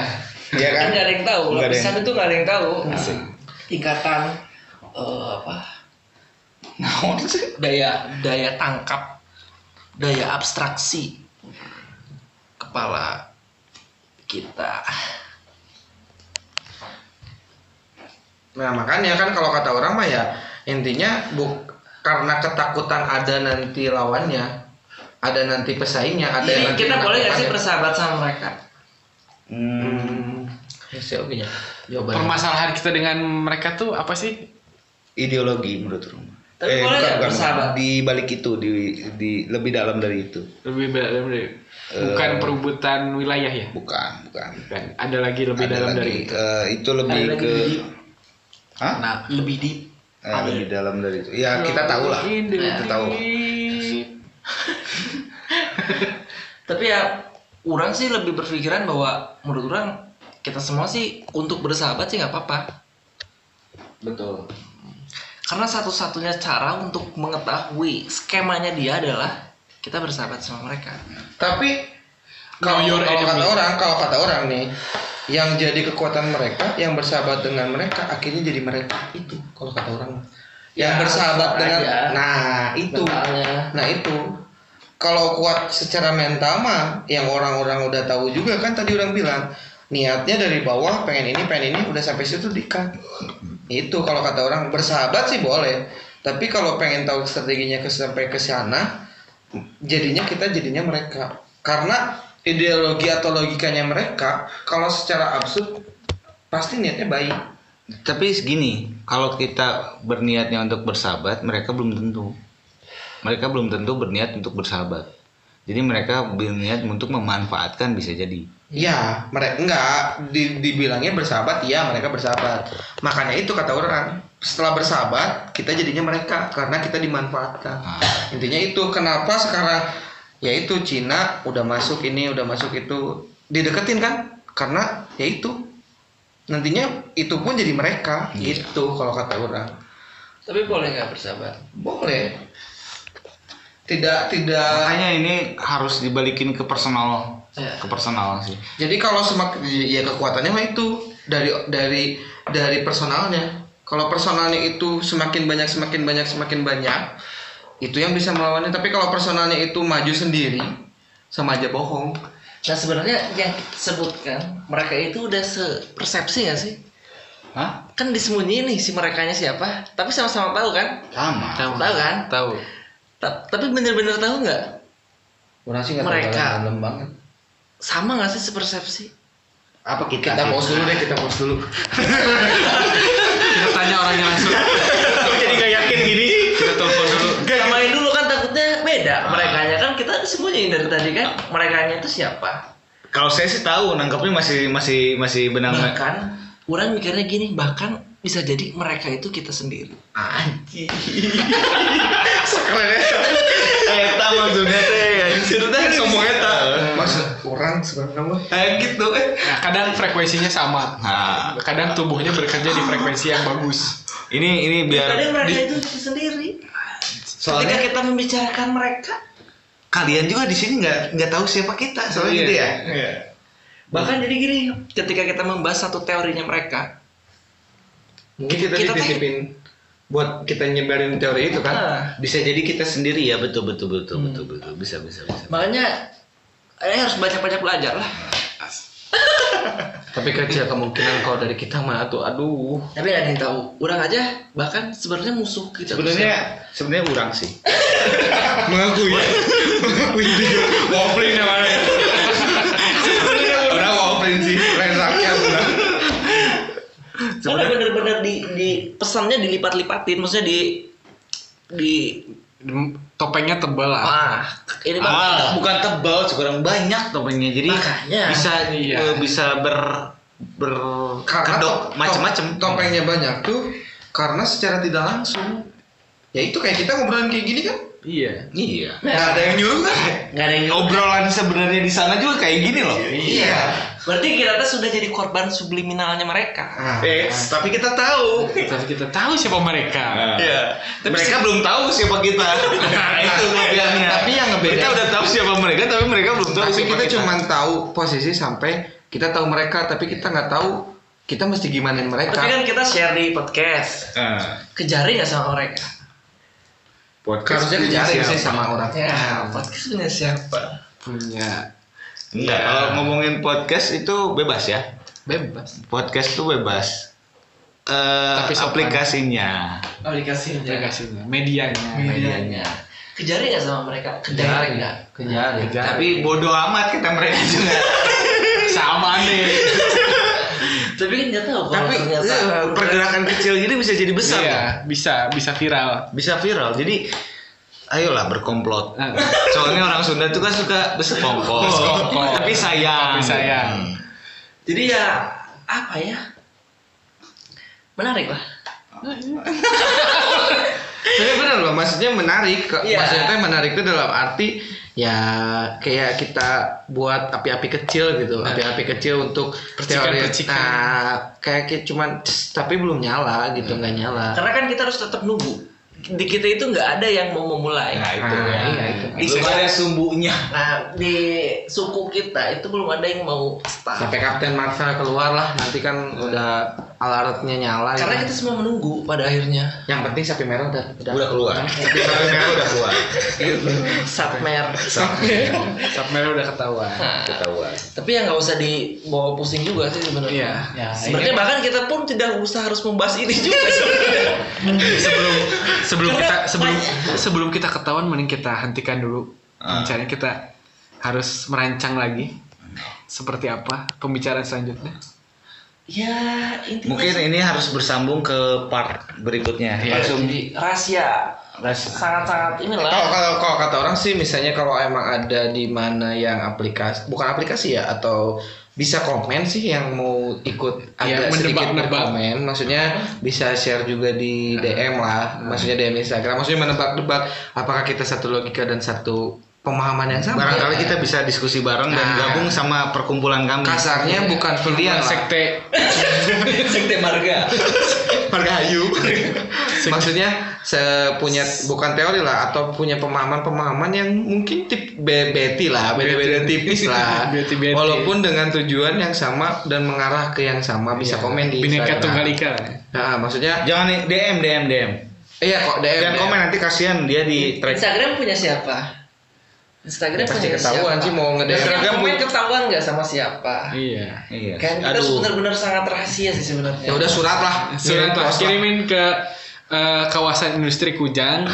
A: Iya kan?
B: Kan nggak ada yang tahu.
A: Nggak ada
B: Lapisan
A: yang-
B: itu nggak ada yang tahu. Tingkatan eh, apa? Daya daya tangkap, daya abstraksi kepala kita.
D: Nah makanya kan kalau kata orang mah ya intinya bu karena ketakutan ada nanti lawannya, ada nanti pesaingnya, ada
B: Jadi
D: yang nanti
B: Iya, kita boleh nggak sih
D: menakutkannya.
B: bersahabat sama mereka?
A: Hmm,
D: Hmm, ya sih, oke ya. Jawabannya.
C: Permasalahan kita dengan mereka tuh apa sih?
A: ideologi menurut rumah. Eh,
B: Tapi boleh
A: bukan,
B: nggak
A: bukan.
B: bersahabat?
A: Di balik itu, di, di lebih dalam dari itu.
C: Lebih beda lebih. Bukan perubutan wilayah ya.
A: Bukan, bukan.
C: Bukan. Ada lagi lebih
A: Ada
C: dalam
A: lagi,
C: dari itu.
A: eh, itu lebih
B: Ada lagi
A: ke
B: lebih deep.
A: Hah?
B: Nah, lebih deep.
A: Eh, lebih dalam dari itu. Ya kita tahu lah. Kita tahu.
B: Tapi ya orang sih lebih berpikiran bahwa menurut orang kita semua sih untuk bersahabat sih nggak apa-apa.
E: Betul.
B: Karena satu-satunya cara untuk mengetahui skemanya dia adalah kita bersahabat sama mereka.
D: Tapi kalau
C: Know your
D: kalau kata
C: enemy.
D: orang, kalau kata orang nih, yang jadi kekuatan mereka, yang bersahabat dengan mereka, akhirnya jadi mereka itu. Kalau kata orang,
B: Ya,
D: yang bersahabat
B: sama
D: dengan,
B: aja.
D: nah itu,
B: Mentalnya.
D: nah itu. Kalau kuat secara mental mah, yang orang-orang udah tahu juga kan tadi orang bilang niatnya dari bawah pengen ini pengen ini udah sampai situ dikat itu kalau kata orang bersahabat sih boleh tapi kalau pengen tahu strateginya ke sampai ke sana jadinya kita jadinya mereka karena ideologi atau logikanya mereka kalau secara absurd pasti niatnya baik
A: Tapi segini, kalau kita berniatnya untuk bersahabat, mereka belum tentu. Mereka belum tentu berniat untuk bersahabat. Jadi mereka berniat untuk memanfaatkan bisa jadi.
D: ya mereka enggak di- dibilangnya bersahabat ya mereka bersahabat makanya itu kata orang setelah bersahabat kita jadinya mereka karena kita dimanfaatkan
A: Nah,
D: intinya itu kenapa sekarang yaitu Cina udah masuk ini udah masuk itu dideketin kan karena yaitu nantinya itu pun jadi mereka
A: Iya.
D: gitu kalau kata orang
B: Tapi boleh nggak bersahabat?
D: boleh tidak tidak
A: makanya ini harus dibalikin ke personal,
B: Iya.
A: ke personal sih.
D: jadi kalau semakin ya kekuatannya mah itu dari dari dari personalnya kalau personalnya itu semakin banyak semakin banyak semakin banyak itu yang bisa melawannya tapi kalau personalnya itu maju sendiri sama aja bohong
B: Nah sebenarnya yang kita sebutkan mereka itu udah sepersepsi nggak sih?
A: Hah?
B: Kan disembunyiin nih si merekanya siapa? Tapi sama-sama tahu kan?
A: Sama.
B: Tahu kan?
C: Tahu.
B: Ta- tapi bener-bener tahu nggak?
D: Orang sih nggak
B: Mereka.
D: terlalu dalam banget.
B: Sama nggak sih sepersepsi?
A: Apa kita?
D: Kita pause dulu deh, kita pause dulu.
C: Kita tanya orangnya langsung.
A: jadi gak yakin gini.
C: Kita telepon dulu.
B: Samain dulu kan takutnya beda. Merekanya kan kita sembunyiin dari tadi kan. Merekanya itu siapa?
A: Kalau saya sih tahu, nangkepnya masih masih masih benang.
B: Bahkan orang mikirnya gini, bahkan bisa jadi mereka itu kita sendiri. Anjir.
A: Eta maksudnya teh, anjir teh sombong eta.
D: Maksud orang sebenarnya mah.
A: Eh gitu eh.
C: Nah, kadang frekuensinya sama.
A: Nah,
C: Kadang tubuhnya bekerja di frekuensi yang bagus.
A: ini ini
B: Tadi
A: biar
B: mereka
A: di-
B: itu kita sendiri. Ketika
A: soalnya
B: kita membicarakan mereka,
A: kalian juga di sini nggak nggak tahu siapa kita soalnya
C: Iya.
A: gitu ya. Hmm.
B: bahkan jadi gini, ketika kita membahas satu teorinya mereka,
D: Mungkin kita,
B: Kita teh-
D: dititipin buat kita nyebarin teori itu kan.
B: ah,
A: Iya. Bisa jadi kita sendiri ya betul betul betul
B: Hmm.
A: betul betul bisa bisa bisa.
B: makanya eh, harus banyak-banyak belajar lah.
D: Tapi kecil kemungkinan kalau dari kita mah tuh aduh.
B: Tapi nggak ada yang tahu. Orang aja bahkan sebenarnya musuh kita. tuh
A: Sebenarnya sebenarnya urang sih. Mengakui. Mengakui dia. Waplin ya mana. Orang waplin sih, resaknya urang.
B: Karena bener-bener di, di pesannya dilipat-lipatin, maksudnya di di
C: Topengnya tebal lah.
B: ah ini mah
A: Ah, bukan tebal, sekarang banyak topengnya. Jadi
B: Makanya.
A: bisa
C: Iya.
A: eh, bisa ber
D: Karena
A: berkedok
D: to-
A: macam-macam.
D: to- Topengnya banyak tuh karena secara tidak langsung. Ya itu kayak kita ngobrolan kayak gini kan.
C: Iya.
A: Iya.
D: Nggak ada yang nyuruh kan?
B: nggak ada yang
A: Obrolan sebenarnya di sana juga kayak gini loh.
D: Iya.
B: berarti kita tuh sudah jadi korban subliminalnya mereka
D: Ah.
A: Eh, tapi kita tahu.
C: Tapi kita tahu siapa mereka.
A: Iya.
C: Tapi
A: mereka
C: se-
A: belum tahu siapa kita. Nah, itu kelebihannya.
D: Tapi yang ngebedain-
A: Kita udah tahu siapa mereka, tapi mereka belum tahu
D: Tapi
A: siapa
D: kita cuman tahu posisi sampai kita tahu mereka tapi kita nggak tahu kita mesti gimanain
B: tapi
D: mereka.
B: kan kita share di podcast
A: Eh,
B: kejari nggak sama mereka
A: podcast
D: Harusnya
A: punya
D: kejarin
A: siapa?
D: sih sama orang.
B: ya podcast punya siapa
C: Punya
A: Enggak, kalau ngomongin podcast itu bebas ya.
C: bebas.
A: Podcast tuh bebas. Eh,
C: Tapi sopan.
A: aplikasinya.
B: aplikasinya
C: Aplikasinya, Oh, medianya.
B: medianya kejari nggak sama mereka kejari nggak
D: Kejarin.
C: Ya. Kejar.
A: Tapi bodoh amat kita mereka juga.
C: sama aneh.
B: Tapi kan nggak tahu kalau
A: Tapi
B: ternyata
A: eh, pergerakan kecil gini bisa jadi besar.
C: iya,
A: kan?
C: bisa bisa viral.
A: Bisa viral. Jadi ayolah berkomplot.
C: Nah,
A: Soalnya orang Sunda tuh kan suka bersekongkol.
C: Bersekongkol.
A: Tapi sayang.
C: Tapi sayang.
A: Hmm.
B: Jadi ya apa ya? Menarik lah.
D: Tapi benar loh, maksudnya menarik. Ke-
B: Iya.
D: Maksudnya teh menarik itu dalam arti ya kayak kita buat api-api kecil gitu, api-api kecil untuk
C: Percikan-
D: teori.
C: percikan.
D: Nah, kayak ki- cuman "Cs," tapi belum nyala gitu, nggak nyala.
B: Karena kan kita harus tetap nunggu. Di kita itu nggak ada yang mau memulai.
A: Nah, itu.
D: Ah,
A: ya.
D: iya, itu.
A: Belum ada sumbunya.
B: Nah, di suku kita itu belum ada yang mau start.
D: Sampai Kapten Marvel keluar lah, nanti kan udah alarmnya nyala.
B: Karena kita
D: gitu.
B: semua menunggu pada akhirnya.
D: Yang penting sapi merah udah udah.
A: Udah keluar. Tapi merah udah keluar.
B: Satmer.
C: Sub merah udah ketahuan.
B: Nah,
A: Ketahuan.
B: tapi ya nggak usah dibawa pusing juga sih
C: Iya.
B: sebenarnya.
C: Ya,
B: Sebenarnya bahkan kita pun tidak usah harus membahas ini juga sebenarnya.
C: sebelum sebelum
B: Karena
C: kita sebelum
B: banyak-
C: sebelum kita ketahuan mending kita hentikan dulu
A: Ah.
C: pembicaraan kita harus merancang lagi seperti apa pembicaraan selanjutnya
B: Ya, intinya
A: Mungkin ini harus bersambung ke part berikutnya.
C: Iya.
A: Langsung
B: jadi rahasia
A: ras-
B: sangat-sangat inilah.
D: Kalau kalau kalau kata orang sih misalnya kalau emang ada di mana yang aplikasi bukan aplikasi ya atau bisa komen sih yang mau ikut
C: Iya,
D: agak sedikit
C: menebak-nebak.
D: berkomen maksudnya bisa share juga di DM lah maksudnya DM Instagram maksudnya menebak-nebak apakah kita satu logika dan satu pemahaman yang sama Iya.
A: Barangkali kita bisa diskusi bareng dan
D: Nah.
A: gabung sama perkumpulan kami.
D: kasarnya bukan pilihan lah
C: sekte
B: sekte marga.
D: Margahayu. Maksudnya sepunya bukan teori lah atau punya pemahaman-pemahaman yang mungkin tip be- beti lah, beda-beda tipis lah.
C: Beti-beti.
D: Walaupun dengan tujuan yang sama dan mengarah ke yang sama bisa komen di
C: bineka Iya. tunggal
D: Instagram.
C: ika
D: Nah, maksudnya
A: Jangan nih, DM DM DM.
D: iya kok DM.
A: Jangan
D: DM.
A: komen nanti kasihan dia di track.
B: Instagram punya siapa? Instagram
D: Ya, Pasti
B: punya
D: ketahuan
B: siapa?
D: sih mau nge-DM.
B: Instagram
A: Instagram
B: komen
A: punya-
B: ketahuan nggak sama siapa?
C: iya
A: Iya.
B: Kan kita harus benar-benar sangat rahasia sih sebenarnya.
D: Ya udah surat lah.
C: surat
D: Kirim
C: lah,
D: pos lah.
C: kirimin ke eh, kawasan industri Kujang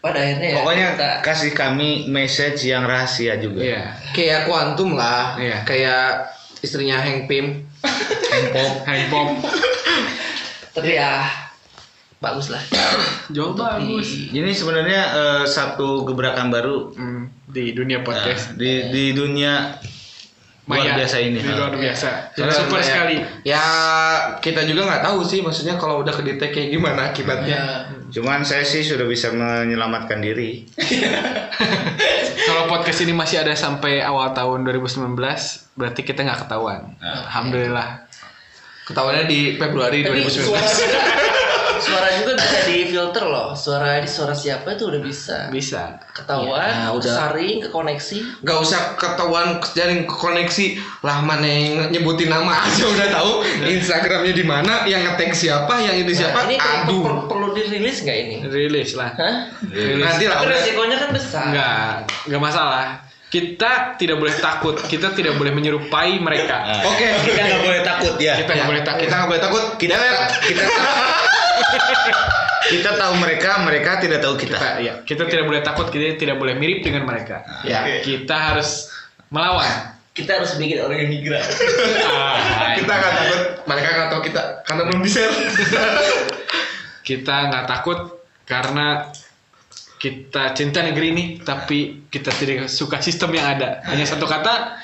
B: Pada akhirnya ya.
A: Pokoknya
B: kita,
A: kasih kami message yang rahasia juga.
C: iya
D: Kayak kuantum lah.
C: Iya.
D: Kayak istrinya Heng Pim.
A: Pop.
C: Hai Bob
B: tapi ya bagus lah.
C: jauh bagus
B: Di-
A: Ini sebenarnya eh, satu gebrakan baru
C: Hmm, di dunia
A: eh,
C: podcast
A: di di dunia Nah, luar
C: Maya.
A: biasa ini.
C: Di luar biasa
D: Soalnya
C: super
D: kayak-
C: sekali
D: Ya kita juga nggak tahu sih maksudnya kalau udah ke detect kayak
C: Iya.
D: gimana akibatnya.
B: Ya.
A: Cuman saya sih sudah bisa menyelamatkan diri.
C: Kalau podcast ini masih ada sampai awal tahun 2019, berarti kita nggak ketahuan. Alhamdulillah.
D: Ketahuannya di Februari
B: Tapi suara
D: 2019.
B: suara juga bisa difilter loh. Suara ini suara siapa itu udah bisa.
C: Nah. Bisa.
B: Ketahuan,
D: Ya, udah.
B: saring, ke koneksi.
D: Gak usah ketahuan jaring koneksi lah mana yang nyebutin nama aja udah tahu Instagramnya di mana, yang ngetek siapa, yang itu siapa.
B: Ini Nah, kayak
D: Aduh,
B: per- perlu dirilis nggak ini?
C: Rilis lah.
B: Hah?
C: Rilis.
D: nanti lah
B: Tapi
D: udah.
B: resikonya kan besar.
C: Nggak, nggak masalah. Kita tidak boleh takut. Kita tidak boleh menyerupai mereka.
D: Oke,
B: Kan
A: Kita nggak boleh takut ya.
C: Kita nggak boleh takut.
D: kita ya. nggak boleh takut.
A: Kita kita kita tahu mereka, mereka tidak tahu kita.
C: Kita,
D: iya.
C: ya, kita tidak boleh takut. Kita tidak boleh mirip dengan mereka.
D: Ya.
C: Kita harus melawan.
B: Kita harus bikin orang yang migran.
C: Ah,
D: Kita nggak takut. Mereka nggak tahu kita karena belum di share.
C: kita nggak takut karena kita cinta negeri ini, tapi kita tidak suka sistem yang ada. Hanya satu kata.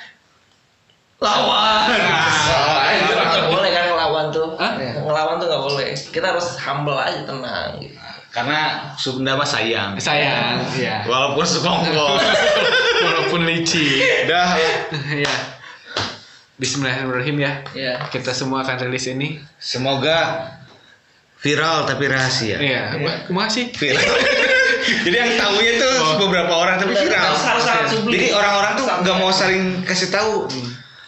D: Lawan.
B: Nggak boleh kan ngelawan tuh.
C: Hah?
B: Ngelawan tuh nggak boleh. Kita harus humble aja tenang. Gitu.
A: Karena Sunda mah sayang.
C: Sayang, ya.
A: Walaupun sekongkol.
C: walaupun licin
A: Dah.
C: ya Bismillahirrahmanirrahim ya
B: Ya.
C: kita semua akan rilis ini
A: Semoga viral tapi rahasia.
C: ya masih
A: Viral. Jadi yang tahunya itu beberapa orang tapi viral.
B: Harus harus sangat sublim.
A: Jadi orang-orang tuh nggak mau sering kasih tahu,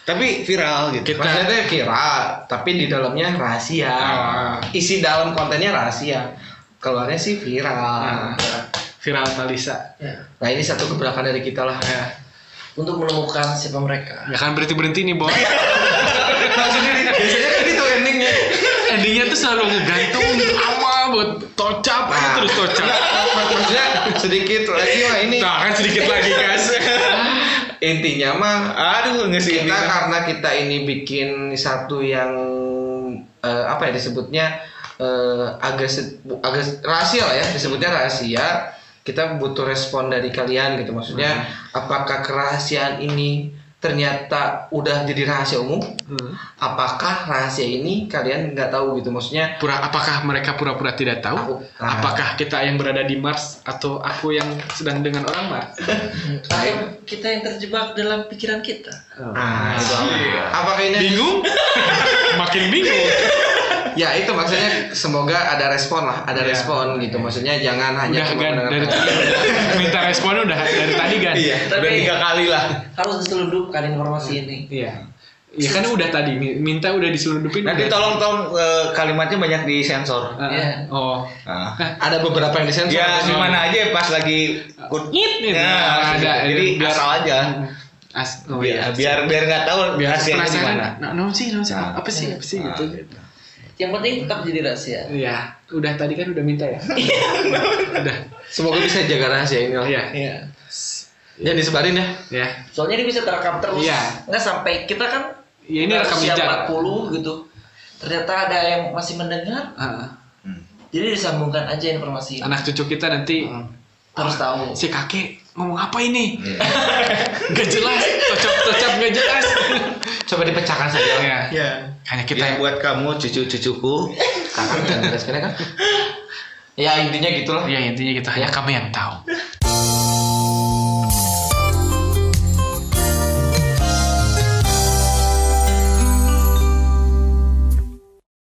A: tapi viral gitu.
C: Kita-
D: Maksudnya tuh viral, tapi di dalamnya rahasia.
C: Ah.
D: Isi dalam kontennya rahasia. Keluarnya sih viral.
C: viral Talisa
B: Ya.
D: Nah ini satu gebrakan dari kita lah.
C: ya
B: Untuk menemukan siapa mereka.
C: nggak akan berhenti berhenti nih bos
D: Biasanya kan itu endingnya.
C: endingnya tuh selalu ngegantung lama buat tocap aja terus tocap
D: Maksudnya sedikit lagi lah ini.
C: kan? nah kan sedikit lagi guys
D: intinya mah
A: Aduh, nggak sih
D: kita
A: ini.
D: karena kita ini bikin satu yang eh, apa ya disebutnya eh, agak se- bu- agak rahasia lah ya disebutnya rahasia kita butuh respon dari kalian gitu maksudnya apakah kerahasiaan ini ternyata udah jadi rahasia umum apakah rahasia ini kalian nggak tahu gitu maksudnya
C: Pura, apakah mereka pura-pura tidak
D: Aku.
C: tahu?
D: Ah.
C: Apakah kita yang berada di Mars atau aku yang sedang dengan orang Mars?
B: Atau kita yang terjebak dalam pikiran kita.
D: ah, itu apa? apakah ini
C: Bingung? Makin bingung.
D: ya itu maksudnya semoga ada respon lah ada
C: Iya.
D: respon gitu maksudnya jangan
C: Udah
D: hanya cuma
C: kan dari
D: mendengarkan.
C: tadi minta respon udah dari tadi kan?
A: Iya,
B: Tapi-
A: udah tiga kali lah.
B: Harus diselundupkan informasi ini.
C: Iya. Ya kan udah tadi mi- minta udah diselundupin.
A: Nanti
C: udah.
A: tolong tolong eh, kalimatnya banyak disensor.
C: Ah,
B: Iya.
C: Oh.
A: Nah.
D: ada beberapa yang disensor
C: Iya,
D: gitu.
A: Ya di mana aja pas lagi good
C: Nyit,
A: Nah,
C: Iya, ada.
A: jadi
C: Biar-
A: asal aja.
C: As oh
A: Biar
C: iya.
A: biar biar nggak tahu
C: biar
A: rahasianya di
C: penasaran.
A: mana.
C: Nah, no sih, no sih.
A: Nah.
C: Apa sih? Apa sih
A: Nah.
C: gitu.
B: Yang penting tetap jadi rahasia.
C: Iya, udah tadi kan udah minta ya. udah.
D: semoga bisa jaga rahasia ini lah
C: Iya.
B: Iya.
D: Jangan disebarin ya.
C: Ya.
B: Soalnya dia bisa terekam terus.
C: Iya.
B: Nggak sampai kita kan
C: Ya ini rekam
B: usia
C: jejak.
B: 40 gitu. Ternyata ada yang masih mendengar.
C: Ah,
B: Jadi disambungkan aja informasi.
C: anak cucu kita nanti
A: Hmm.
B: Harus tahu.
C: si kakek ngomong apa ini?
A: Iya.
C: gak jelas, tocap-tocap gak jelas.
D: Coba dipecahkan saja.
C: Iya.
A: Ya.
C: Hanya kita
A: Kita
D: Iya.
C: yang
A: buat kamu cucu-cucuku.
D: Kakak dan beres kan? Ya intinya gitulah.
C: iya, gitu. Ya intinya kita hanya kami yang tahu.